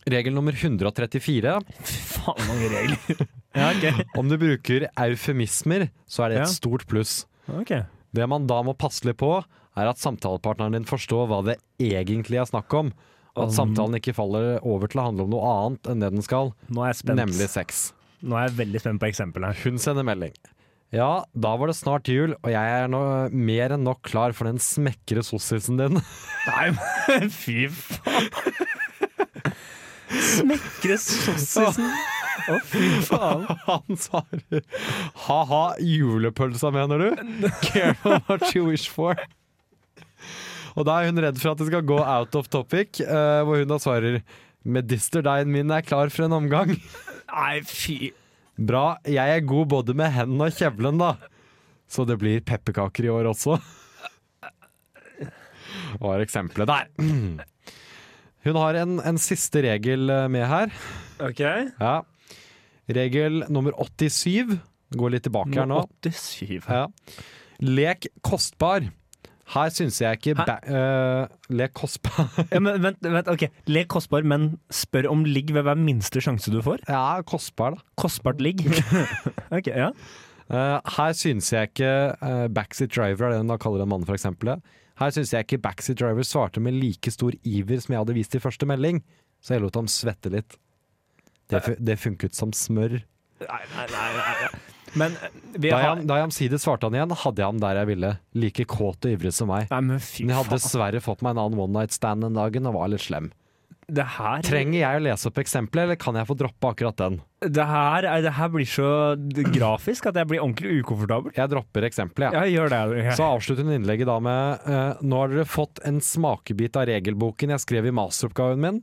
Regel nummer 134. Faen mange regler. [LAUGHS] ja, ok. Om du bruker eufemismer, så er det Ja. et stort pluss. Ok. Det man da må passe litt på, er at samtalepartneren din forstår hva det egentlig er snakk om. Og at Om- samtalen ikke faller over til å handle om noe annet enn det den skal, Nå er jeg spent. nemlig sex. Nå er jeg veldig spent på eksempelet her. Hun sender melding. Ja, da var det snart jul, og jeg er nå mer enn nok klar for den smekre sossisen din. [LAUGHS] Nei, men [LAUGHS] fy faen. [LAUGHS] Smekre sossisen. Å, fy faen. [LAUGHS] Han svarer ha-ha, julepølsa, mener du? Care what you wish for. Og da er hun redd for at det skal gå out of topic, eh, hvor hun da svarer Medisterdeigen min er klar for en omgang. [LAUGHS] Nei, fy. Bra, jeg er god både med hendene og kjevlen, da. Så det blir pepperkaker i år også. Var eksempelet der. [CLEARS THROAT] Hun har en, en siste regel eh, med her. Ok. Ja. Regel nummer 87. Går litt tilbake her nå. 87. Ja. Lek kostbar. Her syns jeg ikke ba eh, Lek kostbar [LAUGHS] Ja, men vent, vent, ok. Lek kostbar, men spør om ligg ved hver minste sjanse du får. Ja, kostbar, da. Kostbart [LAUGHS] ligg. ok, ja. Eh, her syns jeg ikke eh, Backseat Driver er det hun da kaller en mann, for eksempel. Her syns jeg ikke Backseat Driver svarte med like stor iver som jeg hadde vist i første melding, så jeg lot ham svette litt. Det, fu det funket som smør. Nei, nei, nei. nei, nei. Men eh, vi Da har... jeg, da jeg omsider svarte han igjen, hadde jeg ham der jeg ville. Like kåt og ivrig som meg. Nei, men fy Men jeg hadde faen. dessverre fått meg en annen one night stand den dagen og var litt slem. Det her... Trenger jeg å lese opp eksempelet, eller kan jeg få droppe akkurat den? Det her, er- det her blir så grafisk at jeg blir ordentlig ukomfortabel. Jeg dropper eksempelet, Ja, jeg. gjør det. Ulrikke. Så avslutter hun innlegget da med eh, Nå har dere fått en smakebit av regelboken jeg skrev i masteroppgaven min.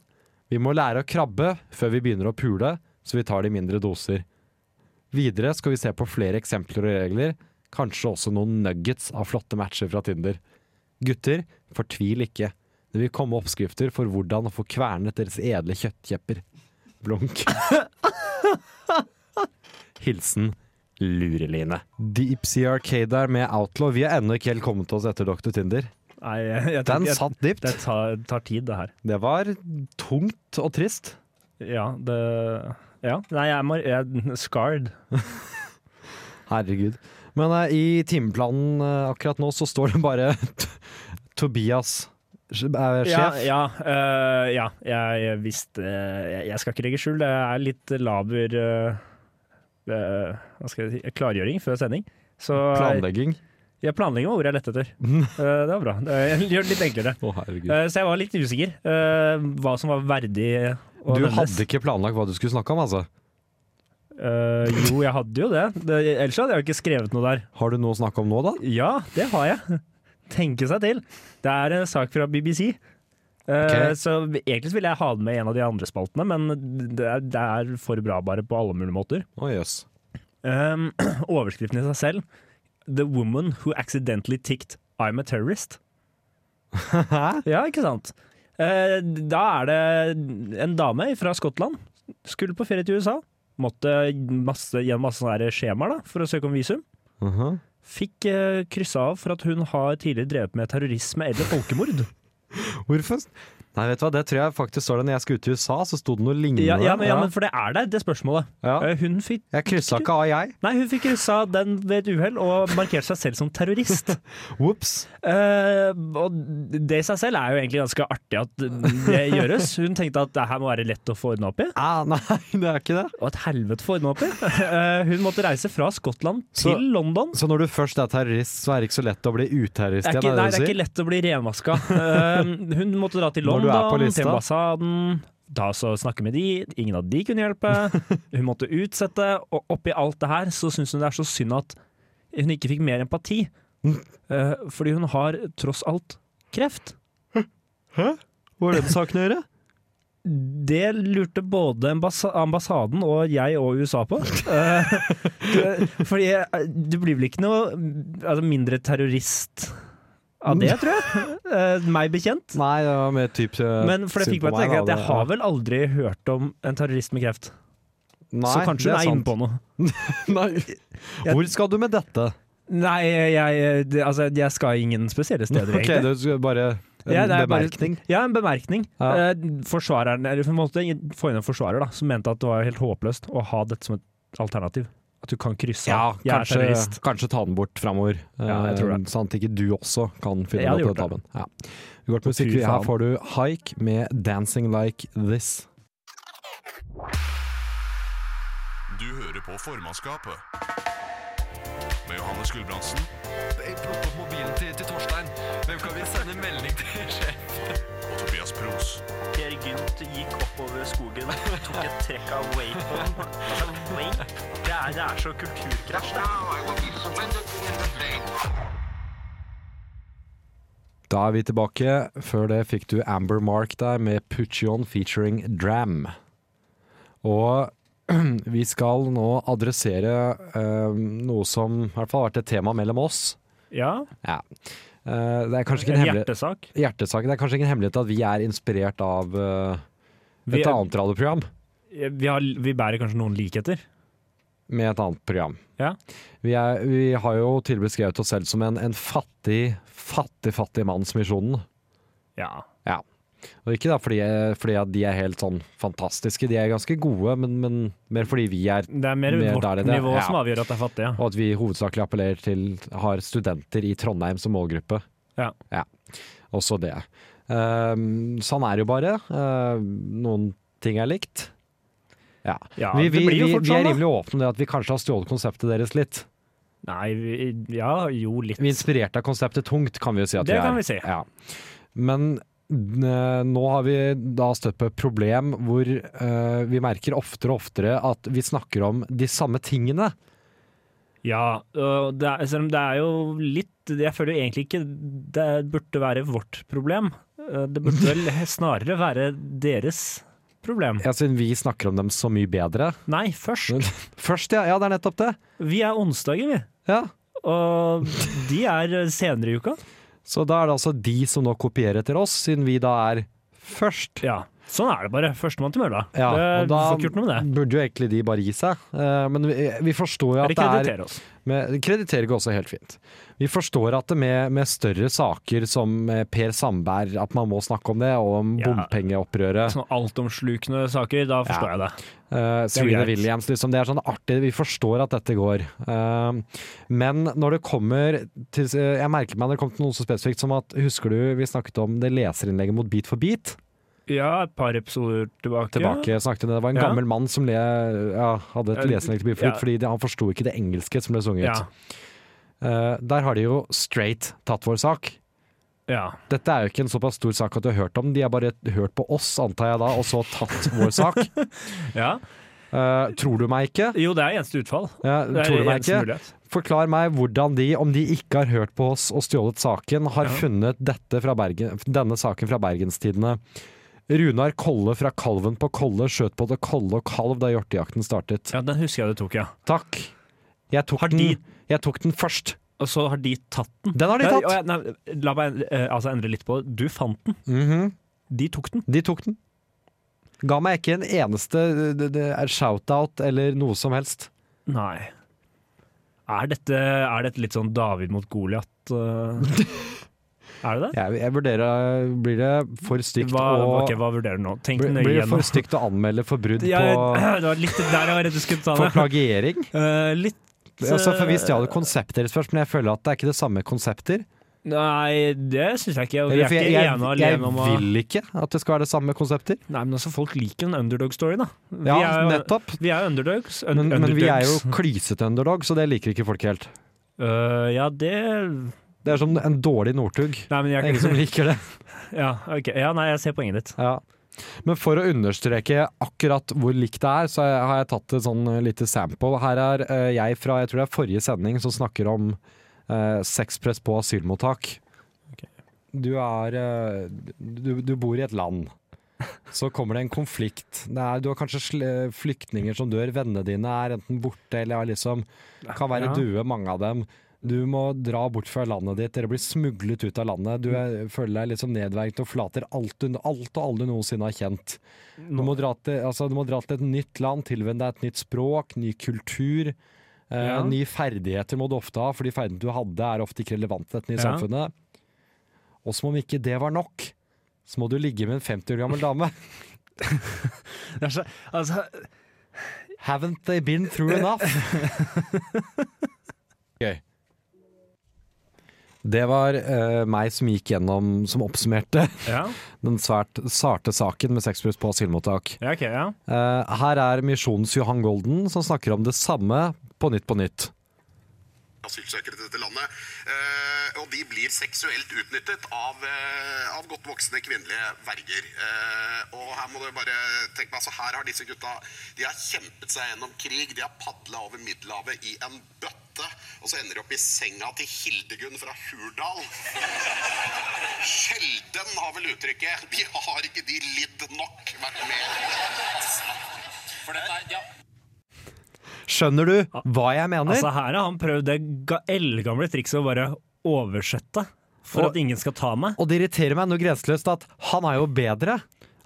Vi må lære å krabbe før vi begynner å pule, så vi tar det i mindre doser. Videre skal vi se på flere eksempler og regler, kanskje også noen nuggets av flotte matcher fra Tinder. Gutter, fortvil ikke. Det vil komme oppskrifter for hvordan å få kvernet deres edle kjøttkjepper. Blunk. Hilsen Lureline. Deep Sea Arcade der med Outlaw. Vi har ennå ikke helt kommet oss etter Dr. Tinder. Nei, jeg, jeg, tror- Den jeg, satt dypt. Det tar, tar tid, det her. Det var tungt og trist. Ja, det Ja. Nei, jeg er mar- jeg, er scarred. Herregud. Men eh, i timeplanen eh, akkurat nå så står det bare [LAUGHS] T- Tobias sj- er Ja, Eh, sjef. ja, øh, ja jeg, jeg visste jeg, jeg skal ikke legge skjul, det er litt laber øh, øh, Hva skal jeg si Klargjøring før sending. Så Planlegging. jeg planlegger med ordet jeg [LAUGHS] lette etter. Eh, det var bra. [LAUGHS] Det gjør det litt enklere. Å, herregud. Eh, så jeg var litt usikker eh, hva som var verdig å Du nevnes. hadde ikke planlagt hva du skulle snakke om, altså? Eh, jo, jeg hadde jo det. det. Ellers hadde jeg jo ikke skrevet noe der. Har du noe å snakke om nå, da? Ja, det har jeg. [LAUGHS] Tenke seg til. Det er en sak fra BBC. Eh, Ok. Så egentlig så ville jeg ha den med i en av de andre spaltene, men det er, det er for bra bare på alle mulige måter. Å jøss. Um, [CLEARS THROAT] overskriften i seg selv The woman who accidentally ticked I'm a terrorist. Hæ? Ja, ikke sant? Eh, da er det en dame fra Skottland. Skulle på ferie til USA. Måtte masse, gjennom masse sånne her skjemaer da, for å søke om visum. Mhm. Fikk uh, kryssa av for at hun har tidligere drevet med terrorisme eller [LAUGHS] folkemord. Hvorfor? Nei, vet du hva, det tror jeg faktisk står det. Når jeg skulle ut til USA, så sto det noe lignende. Ja, ja, men, ja, men for det er der, det spørsmålet. Ja. Eh, Hun fikk Jeg kryssa ikke av, jeg. Nei, hun fikk kryssa den ved et uhell og markerte seg selv som terrorist. [LAUGHS] Ops. Eh, og det i seg selv er jo egentlig ganske artig at det gjøres. Hun tenkte at det her må være lett å få ordna opp i, Ah, nei, [LAUGHS] det er ikke det. og et helvete få ordna opp i. Eh, hun måtte reise fra Skottland til Så- London. Så når du først er terrorist, så er det ikke så lett å bli uterrorist Det er, igjen? ikke, nei, det er du ikke sier? lett å bli renvaska. Eh, hun måtte dra til Når du er på London, lista. til ambassaden. Da så snakke med de, ingen av de kunne hjelpe. [LAUGHS] Hun måtte utsette, og oppi alt det her så syns hun det er så synd at hun ikke fikk mer empati. Mm. Eh, fordi hun har tross alt kreft. Hva har det med saken å gjøre? Det lurte både ambassa ambassaden og jeg og USA på. Eh, [LAUGHS] det- Fordi eh, du blir vel ikke noe altså, mindre terrorist av det, tror jeg. [LAUGHS] Eh, meg bekjent. [LAUGHS] Nei, det var mer typ eh, Men for det synd fikk meg på til å tenke da, at jeg det- har vel aldri hørt om en terrorist med kreft. Nei, så kanskje det er hun er sant. inne på noe. Nei. Hvor skal du med dette? Nei, jeg, det- altså, jeg skal ingen spesielle [LAUGHS] steder, Ok, egentlig. du skal bare en Ja, det er bare- bemerkning. ja, en bemerkning. Ja. Eh, forsvareren, eller på en måte få inn en forsvarer da, som mente at det var helt håpløst å ha dette som et alternativ. At du kan krysse Ja, av. Jeg er kanskje, terrorist. kanskje ta den bort framover. Ja, jeg tror det. Sånn at ikke du også kan finne Jeg hadde ut av gjort tabben. Ja. Vi går til Fy musikk. Her faen. får du Hike med 'Dancing Like This'. Du hører på formannskapet. Med Johannes Gulbrandsen. Plukk opp mobilen til, til Torstein. Hvem kan vi sende melding til, sjef? Og Tobias Pros. Per Gynt gikk oppover skogen, tok et trekk av Waypon. Altså, Way? Det er, det er så kulturkrasj. Da er vi tilbake. Før det fikk du Amber Mark der med Puccion featuring Dram. Og [CLEARS THROAT] vi skal nå adressere eh, noe som i hvert fall har vært et tema mellom oss. Ja. Ja. Eh, det er kanskje ikke en, En hemmelig- hjertesak? Hjertesak. Det er kanskje ikke en hemmelighet at vi er inspirert av eh, Vi et er- annet radioprogram. Vi, har, vi bærer kanskje noen likheter. Med et annet program. Ja. Vi, er, vi har jo tidligere beskrevet oss selv som en, en fattig, fattig, fattig mannsmisjonen. Ja. Ja. Og ikke da fordi, fordi at de er helt sånn fantastiske, de er ganske gode, men, men mer fordi vi er Det er mer, der vårt det er. nivå Ja. som avgjør at det er fattig, ja. Og at vi hovedsakelig appellerer til har studenter i Trondheim som målgruppe. Ja. Også det. Ehm, sånn er det jo bare. Ehm, noen ting er likt. Ja. Ja, vi, det vi, blir jo vi, fort vi sånn, er da. rimelig åpne om det at vi kanskje har stjålet konseptet deres litt. Nei, vi, ja, jo litt. Vi er inspirert av konseptet tungt, kan vi jo si at Det vi er. kan vi si. Ja. Men eh, nå har vi da støtt på et problem hvor eh, vi merker oftere og oftere at vi snakker om de samme tingene. Ja, og det er, selv om det er jo litt Jeg føler jo egentlig ikke det burde være vårt problem. Eh, Det burde vel [LAUGHS] snarere være deres problem. Ja, siden vi snakker om dem så mye bedre. Nei, først. Først, ja. Ja, det er nettopp det. Vi er onsdager, vi. Ja. Og de er senere i uka. Så da er det altså de som nå kopierer etter oss, siden vi da er først. Ja, sånn er det bare. Førstemann til mølla. Ja, Det- og du da får ikke gjort noe med det. burde jo egentlig de bare gi seg. Eh, Men vi, vi forstår jo at Eller det er kreditere oss. Med, krediterer går også helt fint. Vi forstår at det med, med større saker som eh, Per Sandberg, at man må snakke om det, og om Ja. bompengeopprøret. Sånn altomslukende saker, da forstår jeg det. Eh, Serena greit. Williams, liksom. Det er sånn artig. Vi forstår at dette går. Eh, men når det kommer til eh, Jeg merket meg når det kom til noe så spesifikt som at Husker du vi snakket om det leserinnlegget mot Beat for beat? Ja, et par episoder tilbake. Tilbake snakket om Det Det var en Ja. gammel mann som le, ja, hadde et Ja, leserinnlegg til Beat for ja. beat fordi de, han forsto ikke det engelske som ble sunget. Ja. Eh, der har de jo straight tatt vår sak. ja. Dette er jo ikke en såpass stor sak at du har hørt om den. De har bare hørt på oss, antar jeg da, og så tatt vår [LAUGHS] sak. ja. Eh, tror du meg ikke? Jo, det er eneste utfall. Ja, Det er tror du meg eneste ikke? mulighet. Forklar meg hvordan de, om de ikke har hørt på oss og stjålet saken, har Ja. funnet dette fra Bergen, denne saken fra Bergenstidene. Runar Kolle fra Kalven på Kolle skjøt både Kolle og Kalv da hjortejakten startet. Ja, den husker jeg du tok, ja. Takk. Jeg tok, de- den, jeg tok den først. Og så har de tatt den. Den har de Nei, tatt. å, ja, Nei, la meg eh, altså endre litt på det. Du fant den. Mhm. De tok den. De tok den. Ga meg ikke en eneste det- det er shout-out eller noe som helst. Nei. Er dette, er dette litt sånn David mot Goliat? [LAUGHS] eh? er det det? Jeg, jeg vurderer Blir det for stygt Hva, å ok, hva vurderer du nå? Tenk blir, nøye blir det for gjennom. stygt å anmelde for brudd Ja, på [CLEARS THROAT] det var litt der jeg var redd du [CLEARS THROAT] skulle ta For det. plagiering? [LAUGHS] Eh, litt Altså, for Vi eh, stjal konseptet deres først, men jeg føler at det er ikke det samme konsepter. Nei, det syns jeg ikke. Vi Eller, er for jeg, ikke jeg, ene og jeg alene om å vil ikke at det skal være det samme konsepter. Nei, men altså, folk liker en underdog-story, da. Vi Ja, er jo- nettopp. Vi er jo underdogs. Un Men, men vi er jo underdogs. klysete underdog, så det liker ikke folk helt. Eh, ja, det Det er som en dårlig Northug. Nei, men Det er jeg, ingen [LAUGHS] som liker det. ja, ok. ja, nei, jeg ser poenget ditt. Ja. Men for å understreke akkurat hvor likt det er, så har jeg tatt et sånn lite sample. Her er eh, jeg fra jeg tror det er forrige sending som snakker om eh, sexpress på asylmottak. Du er eh, du, du bor i et land. Så kommer det en konflikt. Det er, du har kanskje sl- eh, flyktninger som dør. Vennene dine er enten borte eller er liksom, kan være Ja. døde, mange av dem. Du må dra bort fra landet ditt, dere blir smuglet ut av landet. Du er, føler deg liksom nedverget og flater alt, du, alt og alle du noensinne har kjent. Du må, dra til, altså, du må dra til et nytt land, tilvenne deg et nytt språk, ny kultur. Eh, Ja. Nye ferdigheter må du ofte ha, for de ferdighetene du hadde er ofte ikke relevante til dette nye Ja. samfunnet. Og som om ikke det var nok, så må du ligge med en 50 år gammel dame. altså- Haven't they been through [LAUGHS] enough? Gøy. Det var eh, meg som gikk gjennom, som oppsummerte [LAUGHS] Ja. den svært sarte saken med sexbrus på asylmottak. Ja, ok, ja. Eh, her er Misjonens Johan Golden som snakker om det samme på nytt på nytt. asylsøkere til dette landet. eh, og de blir seksuelt utnyttet av, eh, av godt voksne kvinnelige verger. Eh, og her må du bare tenke meg, altså her har disse gutta de har kjempet seg gjennom krig. De har padla over Middelhavet i en bøtte. Og så ender de opp i senga til Hildegunn fra Hurdal. Sjelden har vel uttrykket 'De har ikke de lidd nok' vært med. For dette er, ja, Skjønner du hva jeg mener? Altså, her har han prøvd det ga- eldgamle trikset å bare oversette for Og- at ingen skal ta meg. Og det irriterer meg noe grenseløst at han er jo bedre.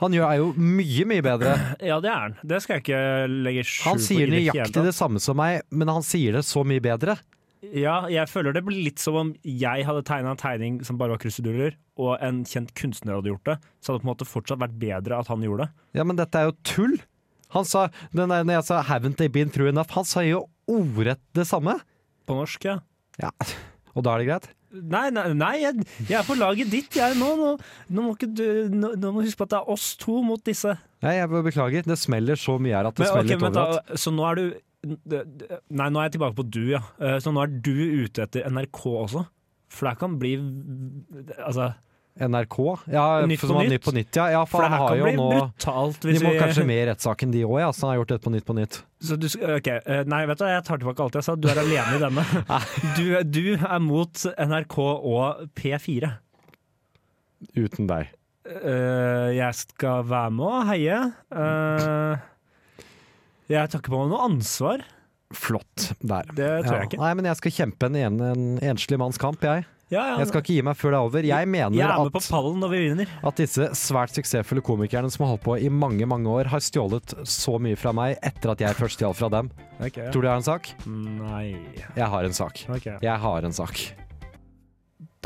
Han gjør, er jo mye, mye bedre. [CLEARS THROAT] Ja, det er han. Det skal jeg ikke legge skjul på. Han sier i det hele nøyaktig det samme som meg, men han sier det så mye bedre. Ja, jeg føler det blir litt som om jeg hadde tegna en tegning som bare var kruseduller, og en kjent kunstner hadde gjort det. Så hadde det på en måte fortsatt vært bedre at han gjorde det. Ja, men dette er jo tull. Han sa, den der, når jeg sa 'haven't they been through enough', han sa jo ordrett det samme. På norsk, ja. ja. Og da er det greit? Nei, nei, nei jeg, jeg er på laget ditt, jeg nå. Nå, nå må ikke du nå, nå må du huske på at det er oss to mot disse. Nei, jeg bare beklager. Det smeller så mye her at det Men, ok, smeller litt vent da, overalt. så nå er du Nei, nå er jeg tilbake på du, ja. Eh, Så nå er du ute etter NRK også? For det her kan bli Altså NRK? Ja, Nytt for som på var nytt? Nytt på nytt, ja. ja for For det han her har kan jo bli nå brutalt hvis De må vi- kanskje med i rettssaken, de òg, ja. Så han har gjort dette på Nytt på nytt. Så du, sk- ok, eh, Nei, vet du, hva, jeg tar tilbake alt jeg sa. Du er alene i [LAUGHS] denne. Du, du er mot NRK og P4. Uten deg. Eh, jeg skal være med og heie. Eh, jeg tar ikke på meg noe ansvar. Flott. Der. Det tror jeg Ja. ikke. Nei, men jeg skal kjempe en, en, en enslig manns kamp, jeg. Ja, ja. Jeg skal ikke gi meg før det er over. Jeg mener Jeg er med at, på pallen når vi vinner. at disse svært suksessfulle komikerne som har holdt på i mange mange år, har stjålet så mye fra meg etter at jeg først stjal fra dem. Ok, ja. Tror du jeg har en sak? Nei Jeg har en sak. Ok. Jeg har en sak.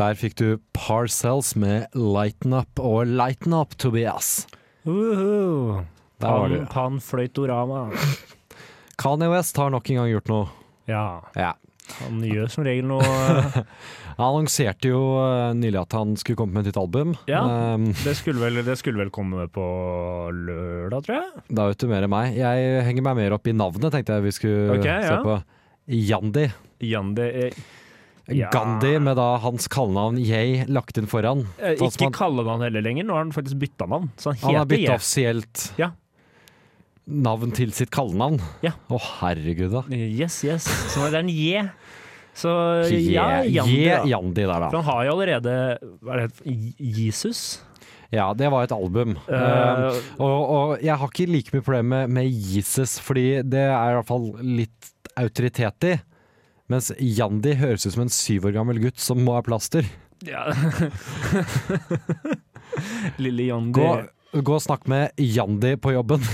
Der fikk du Parcells med 'Lighten Up' og 'Lighten Up, Tobias'. Uhu. Der var Pan, du. panfløytorama. Kanye West har nok en gang gjort noe. Ja. Ja. Han gjør som regel noe [LAUGHS] Han annonserte jo eh, nylig at han skulle komme med et nytt album. Ja, Um, det skulle, vel, det skulle vel komme på lørdag, tror jeg. Da vet du mer enn meg. Jeg henger meg mer opp i navnet, tenkte jeg vi skulle Ok, ja. se på. Jandi. Jandi ja. Gandhi med da hans kallenavn Yay lagt inn foran. Eh, Sånn som Ikke kallenavn heller lenger, nå har han faktisk bytta navn. Så han, han, han har heter bytta J. offisielt Ja. navn til sitt kallenavn. Ja. Å herregud, da. Yes, yes. Så nå er det en J. Så Ye- ja, Jandi. Ye da. Jandi der, da. For han har jo allerede Hva er det? J- Jesus? Ja, det var et album. Eh, Eh, og, og jeg har ikke like mye problem med, med Jesus, fordi det er i hvert fall litt autoritet i. Mens Jandi høres ut som en syv år gammel gutt som må ha plaster. Ja. [LAUGHS] Lille Jandi. Gå, gå og snakk med Jandi på jobben. [LAUGHS]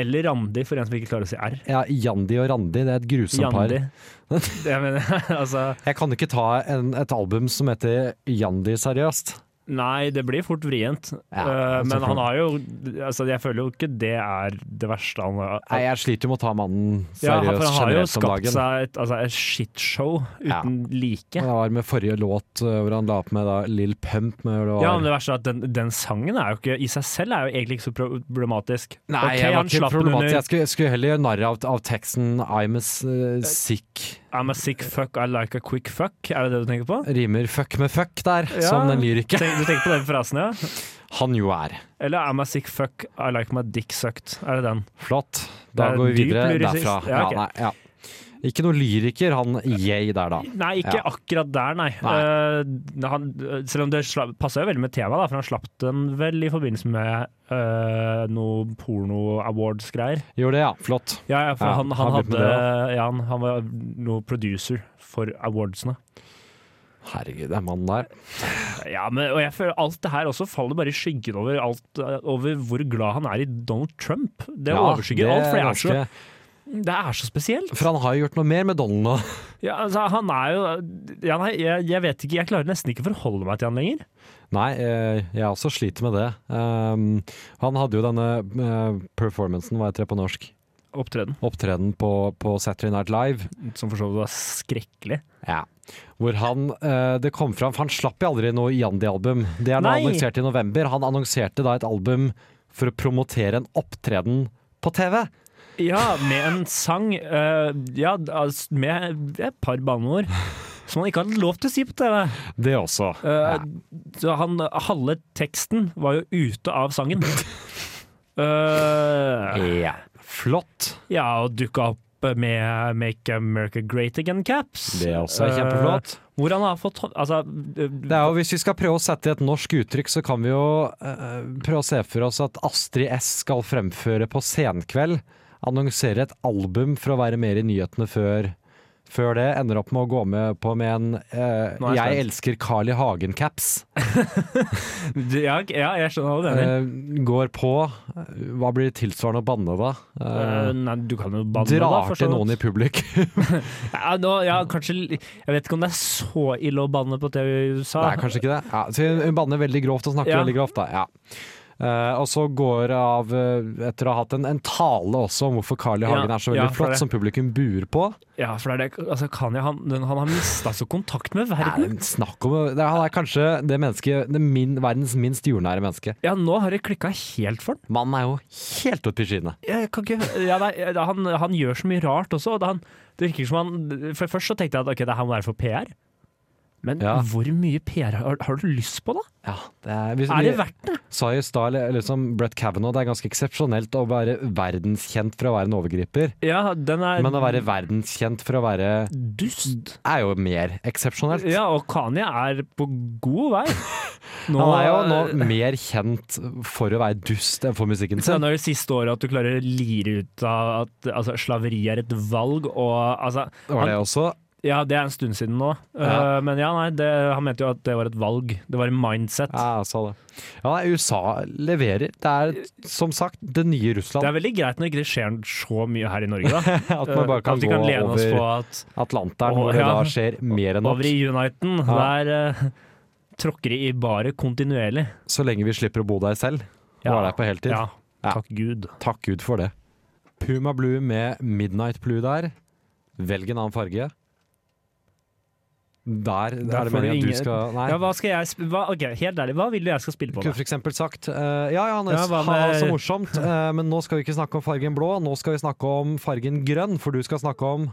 Eller Randi, for en som ikke klarer å si R. Ja, Jandi og Randi, det er et grusomt par. Jandi. Jeg mener, [LAUGHS] altså Jeg kan ikke ta en, et album som heter Jandi seriøst. Nei, det blir fort vrient. Eh, men han har jo altså, Jeg føler jo ikke det er det verste han har Nei, jeg sliter jo med å ta mannen Ja, seriøst for han har jo generelt om skapt dagen. seg et, altså, et shitshow uten like. Det var med forrige låt uh, hvor han la opp med da, Lill Pump. Med, hvor det var, Ja, men det verste er at den, den sangen er jo ikke, i seg selv er jo egentlig ikke så problematisk. Nei, Ok, jeg var han ikke slapp den under- problematisk. Jeg skulle, skulle heller gjøre narr av, av teksten I'm a s- uh, sick I'm a sick fuck, I like a quick fuck. Er det det du tenker på? Rimer fuck med fuck der, som den lyriker. Tenk, du tenker på den frasen, ja? Han jo er. Eller I'm a sick fuck, I like my dick sucked. Er det den? Flott. Da Det er går vi dyp videre lyricist. derfra. Ja, ok. Ja, nei, ja. Ikke noe lyriker, han yay der, da. Nei, ikke Ja. akkurat der, nei. Eh, han, selv om det sla- passer jo veldig med temaet, da, for han slapp den vel i forbindelse med eh, noe porno-awards-greier. Gjorde det, ja. Flott. Ja, ja, for Ja, han han, han, ble med hadde, det, ja, han, han var noe producer for awardsene. Herregud, den mannen der. Ja, men, og jeg føler Alt det her også faller bare i skyggen over, alt, over hvor glad han er i Donald Trump. Det Ja, overskygger det alt, for det er er, ganske- så, det er så spesielt. For han har jo gjort noe mer med Donald nå. [LAUGHS] Ja, altså, han er jo ja, nei, jeg, jeg vet ikke, jeg klarer nesten ikke å forholde meg til han lenger. Nei, eh, jeg også sliter med det. Um, han hadde jo denne eh, performancen, hva heter det på norsk? Opptreden. Opptreden på, på Saturday Night Live. Som for så vidt var skrekkelig. Ja. Hvor han eh, Det kom fram, for han slapp jo aldri noe Yandi-album. Det er nå Nei. annonsert i november. Han annonserte da et album for å promotere en opptreden på TV. Ja, med en sang eh, Ja, altså, med et par banneord som han ikke hadde lov til å si på TV. Det også. Eh, Så han, halve teksten var jo ute av sangen. Eh, Ja. Flott. ja, og dukka opp med Make America Great Again-caps. Det er også kjempeflott. Hvor han har fått Altså, eh, Det er jo, hvis vi skal prøve å sette i et norsk uttrykk, så kan vi jo eh, prøve å se for oss at Astrid S skal fremføre på Senkveld. Annonsere et album for å være mer i nyhetene før, før det. Ender opp med å gå med på med en eh, Nå er jeg 'Jeg elsker Carl I. Hagen'-caps. Eh, ja, ja, jeg skjønner hva du mener. går på Hva blir tilsvarende å banne, da? Eh, Eh, nei, du kan jo banne drar da, for så til vidt. noen i publikum. Ja, nå, ja, kanskje li- Jeg vet ikke om det er så ille å banne på TV i USA. Nei, kanskje ikke det. Ja, så hun banner veldig grovt og snakker Ja. veldig grovt, da. Ja. Eh, og så går av, eh, etter å ha hatt en, en tale også om hvorfor Carl I. Hagen Ja, er så veldig ja, for flott, det. som publikum buer på. Ja, for det er det altså, Kanye, han, den- han har mista så kontakt med Nei, verden. men snakk om det, er- Han er kanskje det mennesket, det min, verdens minst jordnære menneske. Ja, nå har det klikka helt for han. Mannen er jo helt oppe i skyene. Jeg kan ikke, ja, nei, han, han gjør så mye rart også. Og det, han, det virker som han For Først så tenkte jeg at ok, det her må være for PR. Men Ja. hvor mye PR har, har du lyst på, da? Ja, det er, hvis, Er det verdt det? Sa jo i stad eller- liksom Brett Kavanaugh, det er ganske eksepsjonelt å være verdenskjent for å være en overgriper. Ja, den er Men å være verdenskjent for å være Dust er jo mer eksepsjonelt. Ja, og Kanye er på god vei. [LAUGHS] Nå- Han er jo nå mer kjent for å være dust enn for musikken Så sin. det er det siste året at du klarer å lire ut av at altså, slaveri er et valg, og altså Var det han- også? Ja, det er en stund siden nå. Ja. Eh, men ja, nei, det, han mente jo at det var et valg. Det var en mindset. Ja, jeg sa det. Ja, nei, USA leverer. Det er som sagt det nye Det er Russland. veldig greit når ikke det skjer så mye her i Norge, da. [LAUGHS] At man bare Eh, kan vi gå lene oss over på at Atlanteren, Å, hvor det ja. da skjer mer enn nok. over i Uniten, Ja. der eh, tråkker de i baret kontinuerlig. Så lenge vi slipper å bo der selv. Ja. Var der på heltid. Ja. Takk Gud. Takk Gud for det. Puma Blue med Midnight Blue der. Velg en annen farge. Der, Der er det får du meningen at ingen- du skal Nei. Ja, hva skal jeg sp hva, Ok, helt ærlig, hva vil du jeg skal spille på? kunne da? for eksempel sagt eh, Ja, ja, Anders, Ja, hva ha det med- så morsomt, eh, men nå skal vi ikke snakke om fargen blå, nå skal vi snakke om fargen grønn, for du skal snakke om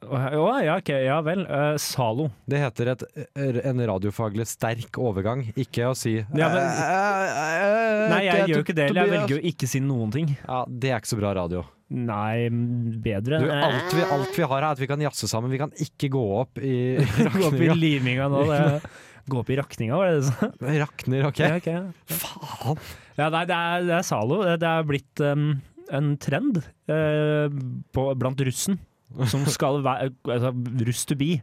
Å, ja, ok, ja vel. Eh, Zalo. Det heter et, en radiofaglig sterk overgang, ikke å si Ja, men- Nei, jeg Eh, det- gjør jo ikke det. eller Jeg Tobias. velger jo ikke si noen ting. Ja, Det er ikke så bra radio. Nei, bedre Du, Eh. alt, vi, alt vi har, er at vi kan jazze sammen. Vi kan ikke gå opp i [LAUGHS] Gå opp i rakninga. liminga nå. Det. Gå opp i rakninga, var det det du sa? Rakner, OK? Ja, ok, ja. Faen! Ja, nei, det er, det er Zalo. Eh, Det er blitt um, en trend eh, på, blant russen som skal være altså, russ to be.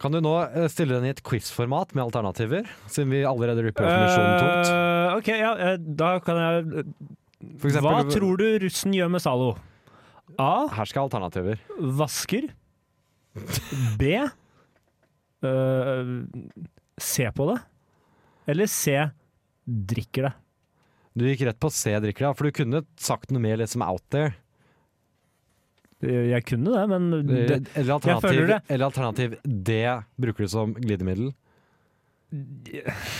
Kan du nå eh, stille den i et quiz-format med alternativer, siden vi allerede ripper off misjonen tungt? Eh, ok, ja, eh, da kan jeg For eksempel- Hva tror du russen gjør med Zalo? A. Her skal alternativer. Vasker. B. eh, se på det. Eller C. Drikker det. Du gikk rett på C, drikker det, for du kunne sagt noe mer liksom out there. Jeg kunne det, men det, eller, jeg føler alternativ, det. eller alternativ D bruker du som glidemiddel.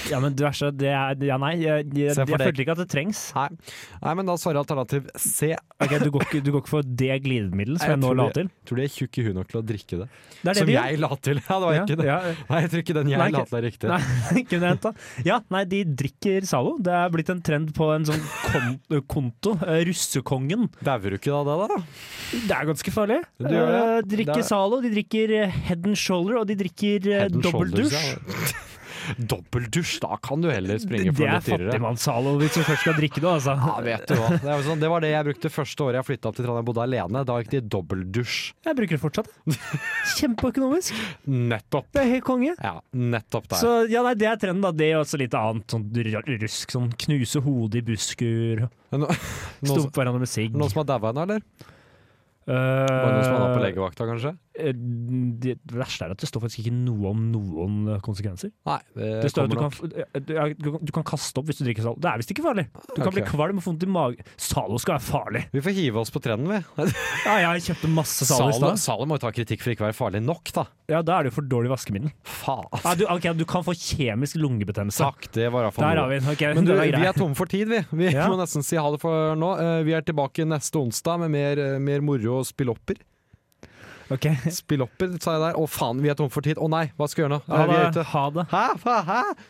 Ja, men du er så det er, Ja, nei. Jeg, jeg, Se jeg for deg. følte ikke at det trengs. Nei, Nei men da svarer alternativ C. Ok, du går, ikke, du går ikke for det glidemiddelet som Nei, jeg, nå tror la de- til? Tror de er tjukke i huet nok til å drikke det. Det er det Som de gjør. jeg la til! [LAUGHS] Ja, det var Ja, ikke det. ja. Nei, jeg tror ikke den jeg Nei, la ikke- til er riktig. Nei, [LAUGHS] kunne jeg henta. Ja, nei, de drikker Zalo. Det er blitt en trend på en sånn kon konto. Eh, Russekongen. Dauer du ikke av det, da? Det er ganske farlig. Du gjør det. Eh, drikker Det er- Zalo, de drikker eh, Head and Shoulder, og de drikker eh, Head and shoulders, dobbeldusj. ja. [LAUGHS] Dobbeldusj, da kan du heller springe for Det noe er dyrere. fattigmanns-Zalo hvis du først skal drikke det, altså. [LAUGHS] Ja, vet du hva. Det, er jo sånn, det var det jeg brukte første året jeg flytta opp til Trondheim og bodde alene. Da gikk det i dobbeldusj. Jeg bruker det fortsatt. Kjempeøkonomisk. Nettopp. Det er helt konge. Ja, nettopp der. Så ja, nei, det er trenden, da. Det er også litt annet sånn r- rusk. Sånn knuse hodet i busker. Nå, Stumpe hverandre med sigg. Noen som har daua nå, eller? Var det noen som var på legevakta, kanskje? Eh, Det verste er at det står faktisk ikke noe om noen eh, konsekvenser. Nei, det, Det står at du kommer kan, nok. f- eh, du, ja, du kan- du kan kaste opp hvis du drikker Zalo. Det er visst ikke farlig. Du kan bli Ok. kvalm og få vondt i magen. Zalo skal være farlig! Vi får hive oss på trenden, vi. Ja, jeg kjøpte masse Zalo i Salo, stad. Salo må jo ta kritikk for ikke å være farlig nok, da. Ja, da er det jo for dårlig vaskemiddel. Faen. Ja, du, ok, du kan få kjemisk lungebetennelse. Takk, det var iallfall Der har vi den. Ok, Men du, den er grei. vi er tomme for tid, vi. Vi Ja. må nesten si ha det for nå. Eh, Vi er tilbake neste onsdag med mer, eh, mer moro og spillopper. Ok. Spillopper, sa jeg der. Å faen, vi er tomme for tid. Å nei, hva skal jeg gjøre nå? Ha Eh, Vi er det. ute. Ha det. Hæ? Hæ? Hæ?